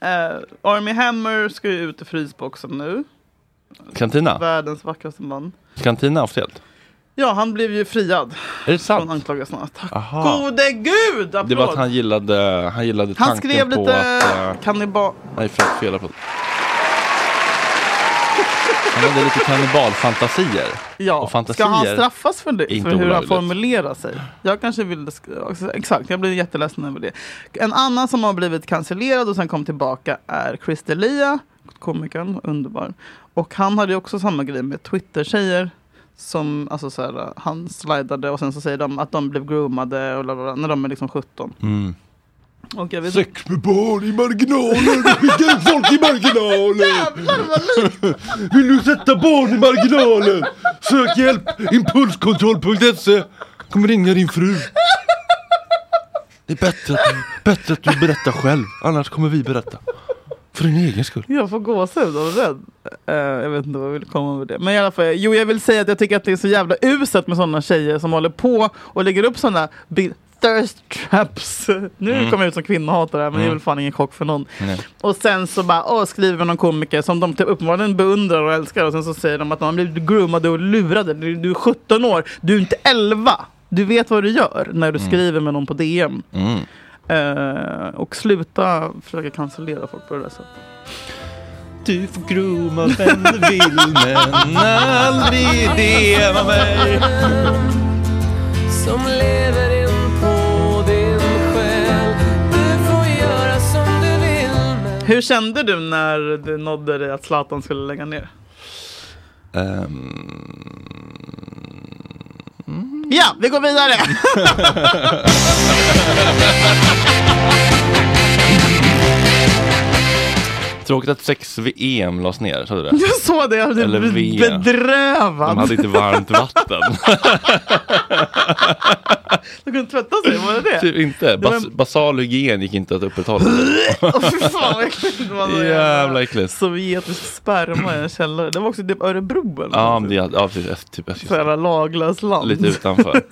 Speaker 2: Eh, Army Hammer ska ju ut i frysboxen nu.
Speaker 1: Kantina?
Speaker 2: Världens vackraste man.
Speaker 1: Kantina officiellt?
Speaker 2: Ja, han blev ju friad.
Speaker 1: Är det sant?
Speaker 2: Från anklagelserna. Tack
Speaker 1: Aha.
Speaker 2: gode gud! Applåd.
Speaker 1: Det var att han gillade, han gillade
Speaker 2: Han
Speaker 1: tanken
Speaker 2: skrev
Speaker 1: på
Speaker 2: lite
Speaker 1: att... eh,
Speaker 2: kannibal...
Speaker 1: Nej, förlåt, fel applåd. Han hade lite kannibalfantasier.
Speaker 2: Ja,
Speaker 1: Och fantasier
Speaker 2: ska han straffas för det?
Speaker 1: är inte
Speaker 2: för hur han
Speaker 1: olagligt.
Speaker 2: formulerar sig? Jag kanske ville... sk- Exakt, jag blev jätteledsen över det. En annan som har blivit cancellerad och sen kom tillbaka är Chris D'Elia, komikern, underbar. Och han hade ju också samma grej med Twitter-tjejer. Som, alltså så här, han slidade och sen så säger de att de blev groomade och lalala, när de är liksom 17.
Speaker 1: Mm.
Speaker 2: Och jag vet,
Speaker 1: Sex med barn i marginalen, skicka ut folk i marginalen! Vill du sätta barn i marginalen? Sök hjälp, impulskontroll.se. E. Kommer ringa din fru. Det är bättre att, du, bättre att du berättar själv, annars kommer vi berätta. För din egen skull.
Speaker 2: Jag får gåshud av rädd. Eh, jag vet inte vad jag vill komma med det. Men i alla fall, jo jag vill säga att jag tycker att det är så jävla uselt med sådana tjejer som håller på och lägger upp sådana bild Thirst traps. Nu
Speaker 11: Mm.
Speaker 2: kommer jag ut som kvinnohatare här, men det är
Speaker 11: Mm.
Speaker 2: väl fan ingen chock för någon. Och sen så bara åh, skriver någon komiker som de typ uppenbarligen beundrar och älskar och sen så säger de att de blir groomade och lurade. Du du är 17 år, du är inte 11. Du vet vad du gör när du
Speaker 1: Mm.
Speaker 2: skriver med någon på DM.
Speaker 1: Mm.
Speaker 2: Eh, och sluta försöka cancellera folk på det där sättet.
Speaker 1: Du får grooma vem du vill men aldrig DMa mig.
Speaker 12: Som lever in på din själ Du får göra som du vill
Speaker 2: Hur kände du när du nådde dig att Zlatan skulle lägga ner?
Speaker 1: Ehm,
Speaker 2: Ja, vi går vidare!
Speaker 1: Tråkigt att sex-VM lades ner, sa du det?
Speaker 2: Jag såg det, jag
Speaker 1: Eller
Speaker 2: blev
Speaker 1: V.
Speaker 2: bedrövad.
Speaker 1: De hade inte varmt vatten.
Speaker 2: Du kunde tvätta sig, var det det?
Speaker 1: typ inte.
Speaker 2: Det var
Speaker 1: Bas
Speaker 2: en...
Speaker 1: Basal hygien gick inte att upprätthålla.
Speaker 2: Åh, fy fan vad äckligt det var. någon
Speaker 1: Jävla äckligt.
Speaker 2: Sovjetisk sperma i en källare. Det var också typ Örebro eller
Speaker 1: Ja, men det, ja precis. Ett- Typ, ett-
Speaker 2: Så jävla laglöst land.
Speaker 1: lite utanför.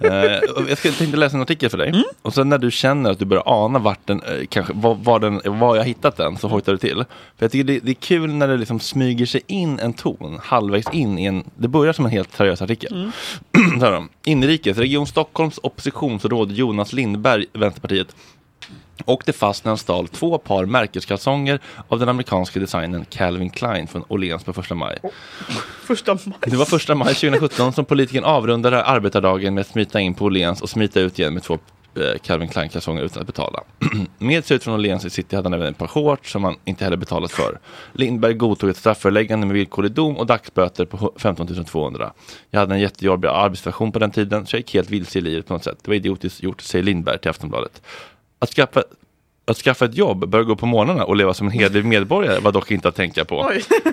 Speaker 1: Eh, och jag ska- tänkte läsa en artikel för dig. Och sen när du känner att du börjar ana vart den, eh, kanske, var, var, den, var jag hittat den, så hojtar du till. För jag tycker det, det är kul när det liksom smyger sig in en ton, halvvägs in i en, det börjar som en helt seriös artikel.
Speaker 13: Mm.
Speaker 1: Så här då. Inrikes, Region Stockholms oppositionsråd Jonas Lindberg, Vänsterpartiet, åkte fast när han stal två par märkeskalsonger av den amerikanska designern Calvin Klein från Åhléns på första maj.
Speaker 2: Första maj.
Speaker 1: Det var första maj 2017 som politikern avrundade arbetardagen med att smita in på Åhléns och smita ut igen med två eh, Calvin Klein-kalsonger utan att betala. Med sig ut från Åhléns i city hade han även en par shorts som han inte hade betalat för. Lindberg godtog ett strafföreläggande med villkorlig dom och dagsböter på hu- 15 200. Jag hade en jättejobbig arbetssituation på den tiden så jag gick helt vilse i livet på något sätt. Det var idiotiskt gjort, säger Lindberg till Aftonbladet. Att skaffa att skaffa ett jobb, börja gå på morgnarna och leva som en hederlig medborgare var dock inte att tänka på.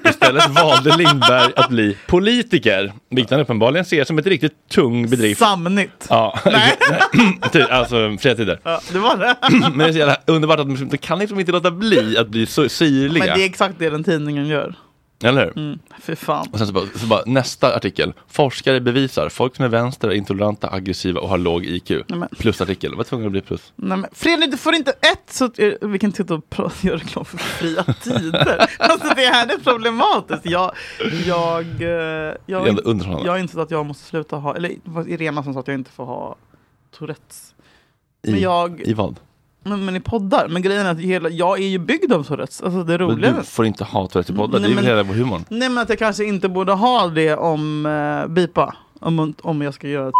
Speaker 1: Istället valde Lindberg att bli politiker, vilket han uppenbarligen ser som ett riktigt tung bedrift.
Speaker 2: Samnytt.
Speaker 1: Ja, Ty- alltså fria tider.
Speaker 2: Ja, det var det.
Speaker 1: Men det är så jävla underbart att de liksom- de kan liksom inte låta bli att bli så syrliga.
Speaker 2: Men det är exakt det den tidningen gör.
Speaker 1: Eller hur?
Speaker 2: Mm, fy fan.
Speaker 1: Och sen så bara, så bara nästa artikel. Forskare bevisar folk som är vänster är intoleranta, aggressiva och har låg IQ.
Speaker 2: Nej, men-
Speaker 1: Plus artikel. Vad tvungen att bli plus.
Speaker 2: Nej, men Fredrik, du får inte ett så att- vi kan inte sitta och pra- göra reklam för fria tider. alltså det här är problematiskt. Jag, jag, eh, jag,
Speaker 1: är ändå underhållande.
Speaker 2: jag har insett att jag måste sluta ha, eller det var Irena som sa att jag inte får ha Tourettes.
Speaker 1: I,
Speaker 2: Men jag,
Speaker 1: I vad?
Speaker 2: men, men i poddar. Men grejen är att hela, jag är ju byggd av Tourettes. Alltså det
Speaker 1: Men
Speaker 2: roliga.
Speaker 1: du får inte ha Tourettes i podden. Det
Speaker 2: Nej,
Speaker 1: är väl
Speaker 2: men-
Speaker 1: hela humorn.
Speaker 2: Nej men att jag kanske inte borde ha det om eh, BIPA. Om, om jag ska göra ett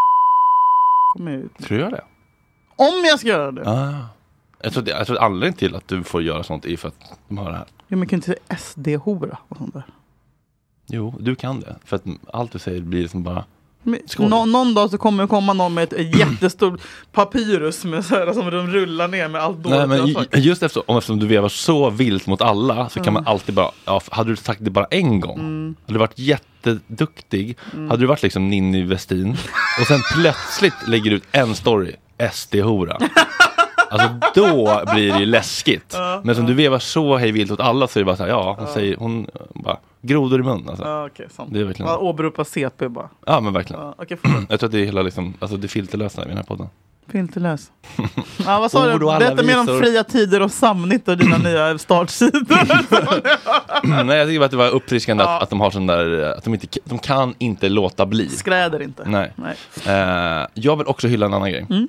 Speaker 2: kommer jag ut.
Speaker 1: Tror jag det?
Speaker 2: Om jag ska göra det.
Speaker 1: Ah. Jag tror, det, jag tror anledningen till att du får göra sånt är för att de har det här.
Speaker 2: Ja, men kan inte säga SD-hora och sånt där.
Speaker 1: Jo, du kan det. För att allt du säger blir liksom bara...
Speaker 2: Men
Speaker 1: Skål.
Speaker 2: Nå någon dag så kommer det komma någon med ett jättestort papyrus med så här, som de rullar ner med allt dåligt
Speaker 1: Nej, men
Speaker 2: jag har
Speaker 1: ju-
Speaker 2: sagt.
Speaker 1: just eftersom, om- eftersom du vevar så vilt mot alla så kan
Speaker 2: Mm.
Speaker 1: man alltid bara, ja, f- hade du sagt det bara en gång,
Speaker 2: Mm.
Speaker 1: hade du varit jätteduktig,
Speaker 2: Mm.
Speaker 1: hade du varit liksom Ninni Westin och sen plötsligt lägger du ut en story, SD-hora. Alltså då blir det ju läskigt. Men som du vevar så hej vilt åt alla så är det bara så här, ja, hon säger, hon eh, bara, grodor i mun alltså.
Speaker 2: Ja, okej, sant.
Speaker 1: Det är verkligen-
Speaker 2: Ja, Åberopa CP bara.
Speaker 1: Ja men verkligen.
Speaker 2: Ja, okej, förlåt.
Speaker 1: Jag tror att det är hela liksom, alltså det filterlösa i den här podden.
Speaker 2: Filterlös. Ja, vad sa
Speaker 1: Ord
Speaker 2: du?
Speaker 1: och alla
Speaker 2: Berätta mer om
Speaker 1: visor.
Speaker 2: fria tider och Samnytt och dina nya startsidor.
Speaker 1: Mm, Nej jag tycker bara att det var uppfriskande
Speaker 2: Ja.
Speaker 1: att, att de har sån där, eh, att de inte, de kan inte låta bli.
Speaker 2: Skräder inte.
Speaker 1: Nej. Eh, jag vill också hylla en annan grej.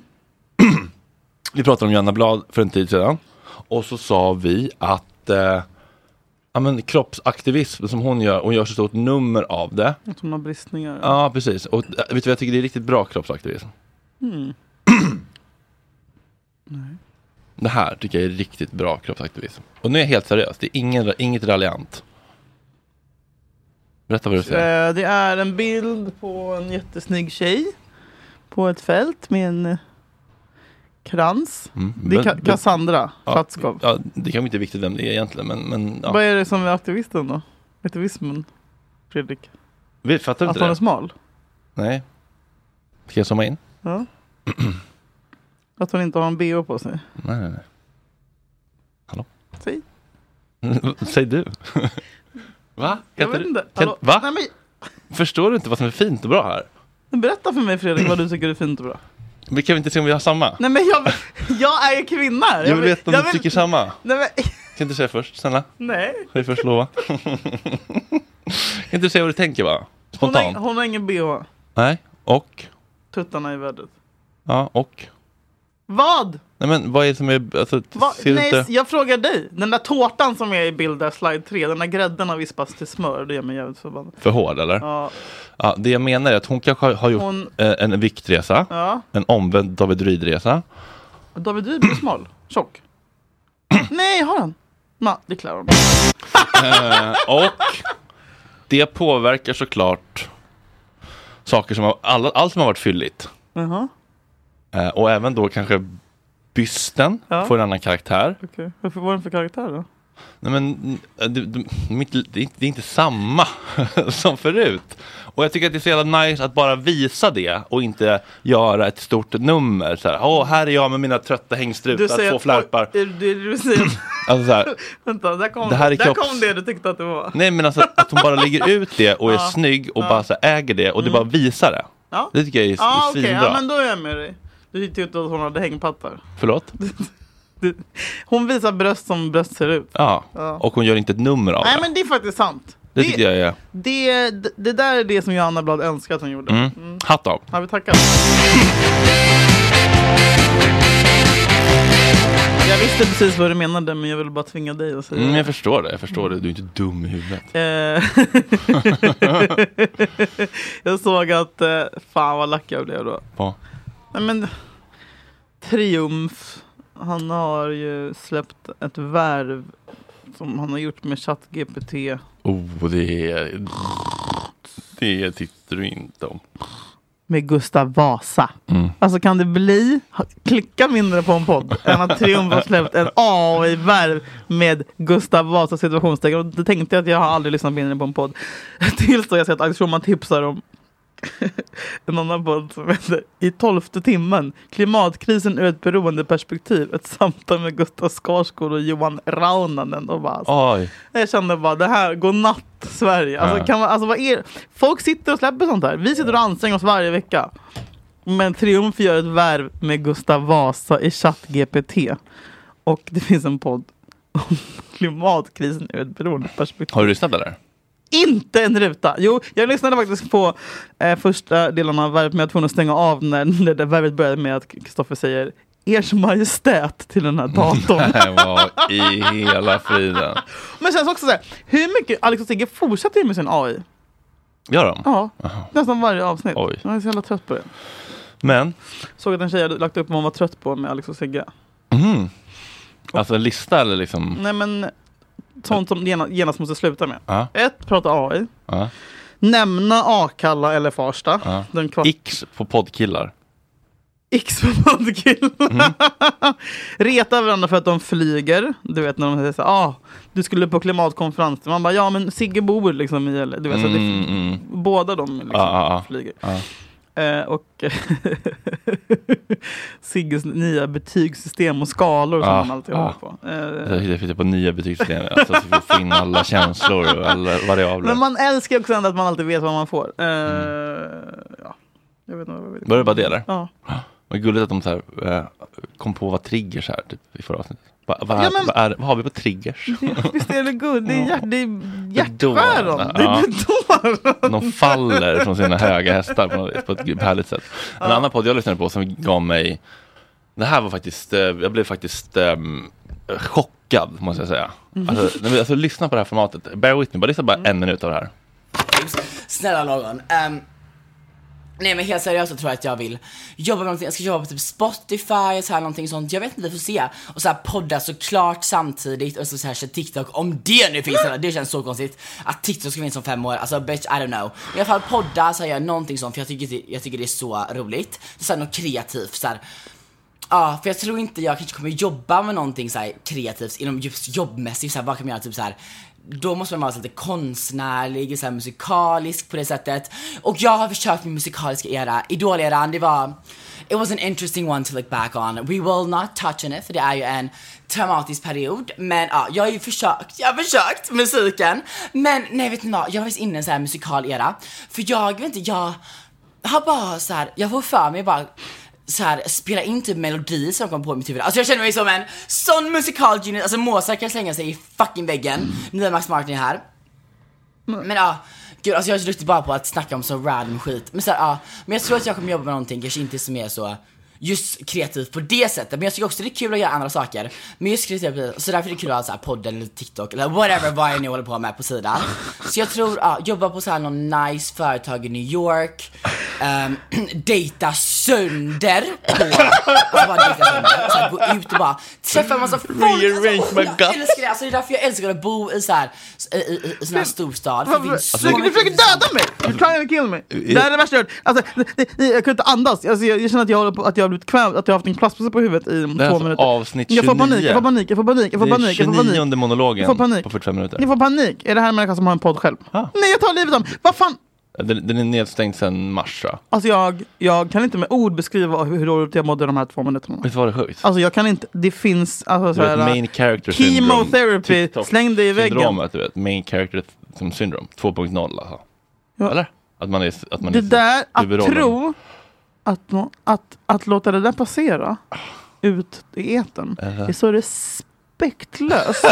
Speaker 1: vi pratade om Johanna Blad för en tid sedan. Och så sa vi att eh, ja, men kroppsaktivism som hon gör, hon gör så stort nummer av det.
Speaker 2: Att hon har bristningar.
Speaker 1: Ja, precis. Och eh, vet du vad jag tycker det är riktigt bra kroppsaktivism?
Speaker 2: Mm.
Speaker 1: Det här tycker jag är riktigt bra kroppsaktivism. Och nu är jag helt seriös, det är ingen, inget raljant. Berätta vad du säger.
Speaker 2: Eh, Det är en bild på en jättesnygg tjej på ett fält med en eh, krans.
Speaker 1: Mm.
Speaker 2: Det är Ka- Cassandra Klatskov.
Speaker 1: Ja, det kan inte viktigt vem det är egentligen, men... men ja.
Speaker 2: Vad är det som är aktivisten då? Aktivismen, Fredrik?
Speaker 1: Vi- Fattar du
Speaker 2: Att
Speaker 1: inte
Speaker 2: hon är
Speaker 1: det?
Speaker 2: smal?
Speaker 1: Nej. Ska jag zooma in?
Speaker 2: Ja. Att hon inte har en bh på sig?
Speaker 1: Nej, nej, nej. Hallå?
Speaker 2: Säg.
Speaker 1: Säg du. Va?
Speaker 2: Jag
Speaker 1: Kan
Speaker 2: vet
Speaker 1: du-
Speaker 2: inte.
Speaker 1: Kan,
Speaker 2: Hallå?
Speaker 1: va?
Speaker 2: Nej, men-
Speaker 1: Förstår du inte vad som är fint och bra här?
Speaker 2: Men Berätta för mig Fredrik vad du tycker är fint och bra.
Speaker 1: Men kan vi inte se om vi har samma?
Speaker 2: Nej men jag, jag är ju kvinna.
Speaker 1: Jag vill veta om
Speaker 2: jag
Speaker 1: du tycker samma.
Speaker 2: Nej, men,
Speaker 1: Kan du säga först, snälla?
Speaker 2: nej.
Speaker 1: Kan du först lova? kan du säga vad du tänker bara?
Speaker 2: Hon, har,
Speaker 1: Spontant?
Speaker 2: hon har ingen bh.
Speaker 1: Nej, och?
Speaker 2: Tuttarna i vädret.
Speaker 1: Ja, och?
Speaker 2: Vad?
Speaker 1: Nej men vad är det som är, alltså,
Speaker 2: Va?
Speaker 1: ser du
Speaker 2: Nej,
Speaker 1: inte?
Speaker 2: jag frågar dig. Den där tårtan som är i bild där, slide 3, den där grädden har vispats till smör. Det gör mig jävligt förbannad.
Speaker 1: För hård eller?
Speaker 2: Ja.
Speaker 1: Ja, det jag menar är att hon kanske har- har gjort
Speaker 2: Hon-
Speaker 1: eh, en viktresa,
Speaker 2: Ja.
Speaker 1: en omvänd David Ryd-resa.
Speaker 2: David Ryd blir smal. Tjock. Nej, har han? Ma, det klarar hon.
Speaker 1: Eh, och det påverkar såklart saker som har, alla, allt som har varit fylligt.
Speaker 2: Jaha,
Speaker 1: Eh, och även då kanske bysten
Speaker 2: Ja.
Speaker 1: får en annan karaktär.
Speaker 2: okej. Varför var den för karaktär då?
Speaker 1: Nej, men, eh, det, det, mitt, det, är inte, det är inte samma som förut. Och jag tycker att det är så jävla nice att bara visa det och inte göra ett stort nummer. Så här, Åh, här är jag med mina trötta hängstrutar, två flärpar.
Speaker 2: Du, du, du säger
Speaker 1: Alltså, så här,
Speaker 2: Vänta, där kom
Speaker 1: Det
Speaker 2: det,
Speaker 1: här är
Speaker 2: där
Speaker 1: kropps-
Speaker 2: kom det du tyckte att det var.
Speaker 1: nej men alltså att hon bara lägger ut det och är
Speaker 2: Ja.
Speaker 1: snygg och
Speaker 2: Ja. Mm.
Speaker 1: bara så här, äger det och det bara visar det.
Speaker 2: Ja.
Speaker 1: Det tycker jag är s-
Speaker 2: Ja, okej,
Speaker 1: svinbra.
Speaker 2: ja, men då är jag med dig. Du tyckte att hon hade hängpattar.
Speaker 1: Förlåt?
Speaker 2: Hon visar bröst som bröst ser ut.
Speaker 1: Ja.
Speaker 2: Ja.
Speaker 1: och hon gör inte ett nummer av
Speaker 2: Nej,
Speaker 1: det.
Speaker 2: men det är faktiskt sant.
Speaker 1: Det tycker jag är...
Speaker 2: Det, det, det där är det som Johanna Blad önskar att hon gjorde.
Speaker 1: Mm. Hatt av.
Speaker 2: Ja, vi tackar. Jag visste precis vad du menade, men jag ville bara tvinga dig att säga
Speaker 1: Mm,
Speaker 2: det.
Speaker 1: jag förstår det, jag förstår
Speaker 2: Mm.
Speaker 1: det. Du är inte dum i huvudet.
Speaker 2: Eh, eh, jag såg att, eh, fan vad lack jag blev då.
Speaker 1: På.
Speaker 2: Nej men, triumf. Han har ju släppt ett värv som han har gjort med ChatGPT.
Speaker 1: Oh, det är... Det tyckte du inte om.
Speaker 2: Med Gustav Vasa.
Speaker 1: Mm.
Speaker 2: Alltså kan det bli, ha- klicka mindre på en podd än att Triumf har släppt en AI-värv med Gustav Vasa situationstecken. Och det tänkte jag att jag har aldrig lyssnat mindre på en podd. Tills då jag ser att Alex Schulman tipsar om en annan podd som heter I tolfte timmen. Klimatkrisen ur ett beroendeperspektiv. Ett samtal med Gustav Skarsgård och Johan Raunanen. Och bara, alltså,
Speaker 1: Oj.
Speaker 2: jag kände bara det här, godnatt Sverige. Alltså,
Speaker 1: Ja.
Speaker 2: kan man, alltså, vad är, folk sitter och släpper sånt här. Vi sitter och anstränger oss varje vecka. Men Triumf gör ett värv med Gustav Vasa i ChatGPT. Och det finns en podd om klimatkrisen ur ett beroendeperspektiv.
Speaker 1: Har du lyssnat eller?
Speaker 2: Inte en ruta! Jo, jag lyssnade faktiskt på eh, första delen av värvet men jag var tvungen att stänga av när, när det värvet började med att Kristoffer säger Ers Majestät till den här datorn.
Speaker 1: Nej, vad i hela friden.
Speaker 2: men sen så också så här, hur mycket Alex och Sigge fortsätter ju med sin AI?
Speaker 1: Gör de?
Speaker 2: Ja,
Speaker 1: Jaha.
Speaker 2: nästan varje avsnitt.
Speaker 1: Oj.
Speaker 2: Jag är så jävla trött på det.
Speaker 1: Men,
Speaker 2: Såg att en tjej hade lagt upp vad hon var trött på med Alex och Sigge.
Speaker 1: mhm. alltså en lista eller liksom?
Speaker 2: Nej men, sånt som gena- genast måste sluta med.
Speaker 1: Ja.
Speaker 2: Ett, prata AI.
Speaker 1: Ja.
Speaker 2: Nämna Akalla eller Farsta.
Speaker 1: Ja.
Speaker 2: Den kvart-
Speaker 1: X på poddkillar.
Speaker 2: X på poddkillar.
Speaker 1: Mm.
Speaker 2: Reta varandra för att de flyger. Du vet när de säger så här, ah, du skulle på klimatkonferensen. Man bara, ja men Sigge bor liksom i eller, du vet, så det,
Speaker 1: Mm, mm.
Speaker 2: Båda de liksom
Speaker 1: Ja, ja, ja.
Speaker 2: flyger.
Speaker 1: Ja.
Speaker 2: Eh, och Sigges nya betygssystem och skalor som
Speaker 1: Ja,
Speaker 2: han alltid
Speaker 1: ja.
Speaker 2: håller på. Eh,
Speaker 1: Jag hittar- hittar på nya betygssystem. Alltså, så vi får in alla känslor och alla variabler.
Speaker 2: men man älskar ju också ändå att man alltid vet vad man får. Eh,
Speaker 1: Mm.
Speaker 2: ja. Jag vet inte vad jag vill.
Speaker 1: Var det bara det eller?
Speaker 2: Ja.
Speaker 1: Vad gulligt att de så här, eh, kom på vad triggers är typ, i förra avsnittet. Va, va,
Speaker 2: Ja, men-
Speaker 1: vad, är, vad har vi på triggers?
Speaker 2: Visst är det gud? Det är, hjärt, det är hjärtskärande.
Speaker 1: Bedårande,
Speaker 2: Det är
Speaker 1: ja.
Speaker 2: bedårande.
Speaker 1: De faller från sina höga hästar på, något- på ett härligt sätt. En annan podd jag lyssnade på som gav mig, det här var faktiskt, eh, jag blev faktiskt ehm, chockad måste jag säga.
Speaker 6: Mhm.
Speaker 1: Alltså, nej, men alltså lyssna på det här formatet, bear with me, bara lyssna bara
Speaker 2: Mm.
Speaker 1: en minut av det här.
Speaker 4: Snälla någon. ehm, nej men helt seriöst så tror jag att jag vill jobba med någonting. Jag ska jobba på typ Spotify, så här, någonting sånt. Jag vet inte, vi får se. Och så här podda såklart samtidigt och så, så här köra TikTok. Om det nu finns eller? Det känns så konstigt. Att TikTok ska finnas om fem år. Alltså bitch, I don't know. I alla fall podda, så här, göra någonting sånt för jag tycker, det- jag tycker det är så roligt. Så här, något kreativt. Så här, Ja, för jag tror inte jag kanske kommer jobba med någonting så här kreativt inom just jobbmässigt. Så här, vad kan man göra? Typ så här, då måste man vara så lite konstnärlig, så här musikalisk på det sättet. Och jag har försökt min musikaliska era. Idol-eran, det var... It was an interesting one to look back on. We will not touch on it, för det är ju en traumatisk period. Men ja, jag har ju försökt, jag har försökt musiken. Men nej, vet ni vad? Jag var faktiskt inne i en så här musikal era. För jag, vet inte, jag har bara så här, jag får för mig bara så här, spela in typ melodier som kom på i mitt huvud. Alltså jag känner mig som en sån musikal genius. Alltså Mozart kan slänga sig i fucking väggen. Nu är Max Martin här. Mm. Men ja, gud alltså jag är så duktig bara på att snacka om så random skit. Men så här, ja, men jag tror att jag kommer jobba med någonting, kanske inte som är så just kreativt på det sättet. Men jag tycker också det är kul att göra andra saker. Men just kreativt, så därför är det kul att ha så här podden eller TikTok eller whatever, vad jag nu håller på med på sidan. Så jag tror, ja, jobba på så här någon nice företag i New York. Um, dejta sönder på, alltså bara dejta sönder. Så här, gå ut och bara träffa en massa folk.
Speaker 1: Rearrange
Speaker 4: alltså,
Speaker 1: my
Speaker 4: jag
Speaker 1: guts.
Speaker 4: älskar det, alltså det är därför jag älskar att bo i så här, i, i, i sån här storstad. För det finns så
Speaker 2: Alltså, du försöker döda mig! You're trying to kill me. Det här är det värsta jag hört. Alltså, det- det- jag kunde inte andas. Alltså, jag, jag känner att jag, håller på, att jag har blivit kvävd, att jag har haft en plastpåse på huvudet i
Speaker 1: Det här är
Speaker 2: två
Speaker 1: som
Speaker 2: minuter.
Speaker 1: avsnitt
Speaker 2: Jag får panik,
Speaker 1: 29.
Speaker 2: jag får panik, jag får panik, jag får
Speaker 1: Det är
Speaker 2: panik. Jag får panik.
Speaker 1: 29 monologen
Speaker 2: Jag får panik.
Speaker 1: på 45 minuter.
Speaker 2: Jag får panik. Är det här en människa som har en podd själv? Nej, jag tar livet av mig. Vad fan?
Speaker 1: Den, den är nedstängd sedan mars. va?
Speaker 2: Alltså jag, jag kan inte med ord beskriva hur dåligt jag mådde de här två minuterna.
Speaker 1: Visst var det sjukt?
Speaker 2: Alltså jag kan inte, det finns alltså
Speaker 1: Du vet,
Speaker 2: såhär...
Speaker 1: main character syndrome.
Speaker 2: Chemotherapy,
Speaker 1: TikTok
Speaker 2: släng dig i väggen.
Speaker 1: Syndromet, du vet. Main character th- syndrome. 2.0 alltså.
Speaker 2: Ja.
Speaker 1: Eller? Att man är... Att man
Speaker 2: Det
Speaker 1: är
Speaker 2: där, att
Speaker 1: huvudrollen.
Speaker 2: tro att, nå- att, att låta det där passera ut i etern
Speaker 1: Uh-huh.
Speaker 2: är så respektlöst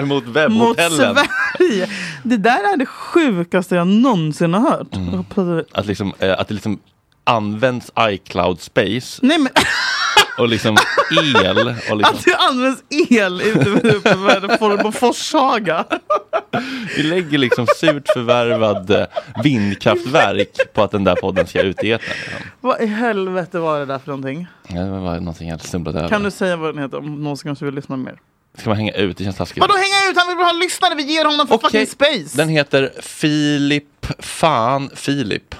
Speaker 1: Mot
Speaker 2: mot
Speaker 1: webbhotellen.
Speaker 2: Sverige. Det där är det sjukaste jag någonsin har hört.
Speaker 1: Mm.
Speaker 2: Jag hoppas att det-
Speaker 1: Att, liksom, eh, att det liksom används iCloud space
Speaker 2: Nej men
Speaker 1: och liksom el. Och liksom,
Speaker 2: Att det används el ute ute på en form av Forshaga.
Speaker 1: vi lägger liksom surt förvärvad eh, vindkraftverk på att den där podden ska ut i etern. liksom.
Speaker 2: Vad i helvete var det där för någonting?
Speaker 1: Ja, Det var bara någonting jag hade snubblat över.
Speaker 2: Kan du säga vad den heter om någon som kanske vill lyssna mer?
Speaker 1: Ska man hänga ut? Det känns taskigt.
Speaker 2: Vadå hänga ut? Han vill bara ha lyssnare, vi ger honom för fucking space!
Speaker 1: Den heter Filip Fan Filip.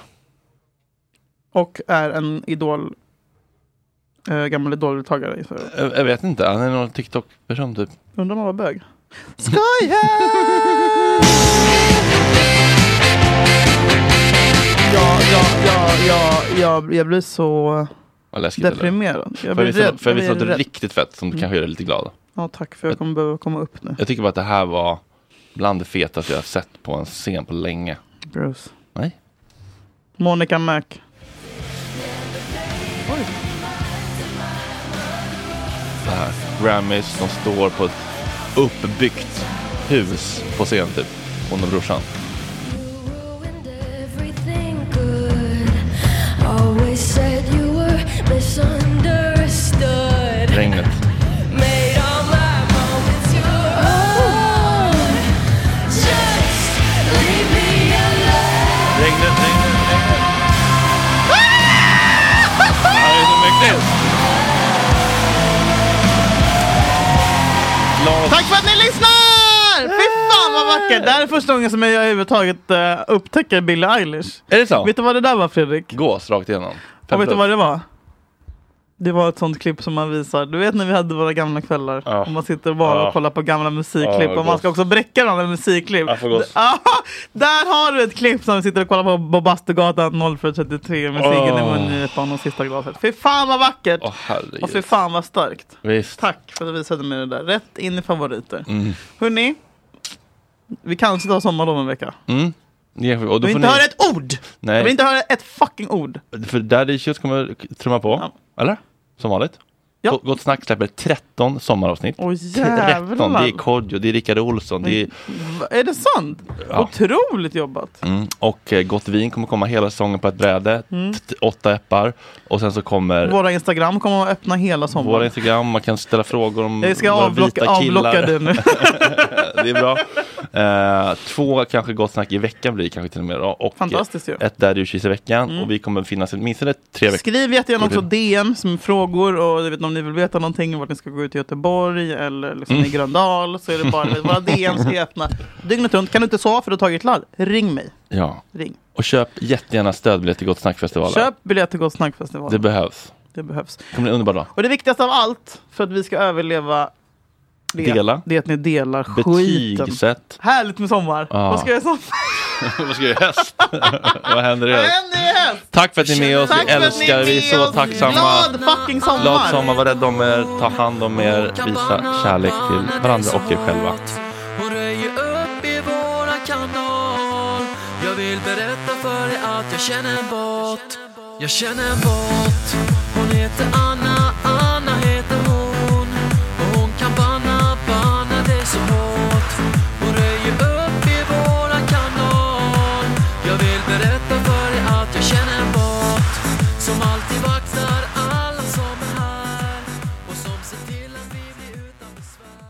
Speaker 2: Och är en idol, eh, gammal idoldeltagare. gissar jag.
Speaker 1: Jag, jag vet inte, han är någon TikTok-person typ.
Speaker 2: Undrar om han var bög? Skoja! ja, ja, ja, ja, jag, jag blir så...
Speaker 1: Vad läskigt
Speaker 2: Deprimerad.
Speaker 1: eller?
Speaker 2: Jag
Speaker 1: Får
Speaker 2: blir
Speaker 1: jag visa-
Speaker 2: rädd.
Speaker 1: Får jag
Speaker 2: Jag
Speaker 1: visa
Speaker 2: blir
Speaker 1: något
Speaker 2: rädd.
Speaker 1: riktigt fett som
Speaker 2: Mm.
Speaker 1: kanske gör dig lite glad?
Speaker 2: Ja, tack för jag kommer behöva komma upp nu.
Speaker 1: Jag tycker bara att det här var bland det fetaste jag har sett på en scen på länge.
Speaker 2: Bruce.
Speaker 1: Nej.
Speaker 2: Monica Mac.
Speaker 1: Det här. Grammys, de står på ett uppbyggt hus på scen typ. Hon och brorsan.
Speaker 4: Always said you were misunderstood.
Speaker 1: Regnet.
Speaker 4: Made all my moments your own. Just leave me alone.
Speaker 1: Regnet, regnet, regnet. Det här är så mäktigt! Glad-
Speaker 2: Tack för att ni lyssnar! Fy fan vad vackert! Det här är första gången som jag överhuvudtaget eh, upptäcker Billie Eilish.
Speaker 1: Är det så?
Speaker 2: Vet du vad det där var Fredrik?
Speaker 1: Gås rakt igenom. Fem
Speaker 2: Och vet du
Speaker 1: plus.
Speaker 2: vad det var? Det var ett sånt klipp som man visar. Du vet när vi hade våra gamla kvällar. Och man sitter bara
Speaker 1: Ja.
Speaker 2: och kollar på gamla musikklipp.
Speaker 1: Ja,
Speaker 2: och man ska
Speaker 1: gott.
Speaker 2: också bräcka varandra med musikklipp.
Speaker 1: Ja, för gott.
Speaker 2: Ah, där har du ett klipp som vi sitter och kollar på på Bastugatan 0433 med ciggen i
Speaker 1: Åh.
Speaker 2: mungipan och sista glaset. Fy fan vad vackert!
Speaker 1: Åh herregud.
Speaker 2: och fy fan vad starkt.
Speaker 1: Visst.
Speaker 2: Tack för att du visade mig det där. Rätt in i favoriter.
Speaker 1: Mm.
Speaker 2: Hörni, vi kanske tar sommar om en vecka.
Speaker 1: Mm. Ja, och
Speaker 2: Jag
Speaker 1: då
Speaker 2: vill
Speaker 1: får
Speaker 2: inte
Speaker 1: ni...
Speaker 2: höra ett ord!
Speaker 1: Nej.
Speaker 2: Jag vill inte höra ett fucking ord.
Speaker 1: För Daddy Issues kommer trumma på, eller? Som vanligt. Ja. Gott snack släpper 13 sommaravsnitt.
Speaker 2: Åh,
Speaker 1: 13,
Speaker 2: jävlar.
Speaker 1: det är Kodjo, det är Rickard Olsson, det är...
Speaker 2: Va- Är det sant?
Speaker 1: Ja.
Speaker 2: Otroligt jobbat.
Speaker 1: Mm. Och eh, Gott Vin kommer komma hela säsongen på ett bräde,
Speaker 2: Mm.
Speaker 1: t- t- åtta appar. Och sen så kommer våra,
Speaker 2: Våra Instagram kommer att öppna hela sommaren.
Speaker 1: Instagram, man kan ställa frågor om
Speaker 2: Jag ska
Speaker 1: våra
Speaker 2: avblocka-
Speaker 1: vita killar.
Speaker 2: avblocka det nu.
Speaker 1: det är bra. Eh, två kanske Gott snack i veckan blir det kanske till och med. då. Och
Speaker 2: Fantastiskt ju.
Speaker 1: eh, Ett Daddy Issues i veckan.
Speaker 2: Mm.
Speaker 1: Och vi kommer finnas i åtminstone tre veckor.
Speaker 2: Skriv jättegärna också
Speaker 1: Går det-
Speaker 2: DM som frågor och jag vet, inte om ni vill veta någonting om vart ni ska gå ut i Göteborg eller liksom
Speaker 1: Mm.
Speaker 2: i Gröndal så är det bara våra DM ska öppna dygnet runt. Kan du inte sova för du har tagit ladd? Ring mig.
Speaker 1: Ja.
Speaker 2: Ring.
Speaker 1: Och köp jättegärna stödbiljett till Gott Snack-festivalen.
Speaker 2: Köp biljetter till Gott Snackfestival.
Speaker 1: Det behövs.
Speaker 2: Det behövs.
Speaker 1: Det kommer bli en underbar dag.
Speaker 2: Och det viktigaste av allt för att vi ska överleva det,
Speaker 1: Dela.
Speaker 2: det är att ni delar skiten.
Speaker 1: Betygsätt.
Speaker 2: Härligt med sommar.
Speaker 1: Ja.
Speaker 2: Vad ska jag säga?
Speaker 1: Vad ska du i höst? Vad händer i
Speaker 2: Vad
Speaker 1: höst?
Speaker 2: händer i höst?
Speaker 1: Tack för att ni är med oss.
Speaker 2: Äh! Tack
Speaker 1: Vi
Speaker 2: för att ni
Speaker 1: älskar er. Vi är
Speaker 2: med
Speaker 1: så
Speaker 2: oss.
Speaker 1: tacksamma.
Speaker 2: Glad fucking sommar!
Speaker 1: Glad sommar. Var rädd om er. Ta hand om er. Visa kärlek till varandra och er själva.
Speaker 4: och röjer upp i våran kanal. Jag vill berätta för er att jag känner en bot. Jag känner en bot. Hon heter Anna, Anna heter hon. Och hon kan banna, banna dig så hårt. Hon röjer upp i våran kanal. Jag vill berätta för er att jag känner en bot. Som alltid vaktar alla som är här. Och som ser till att vi blir utan besvär.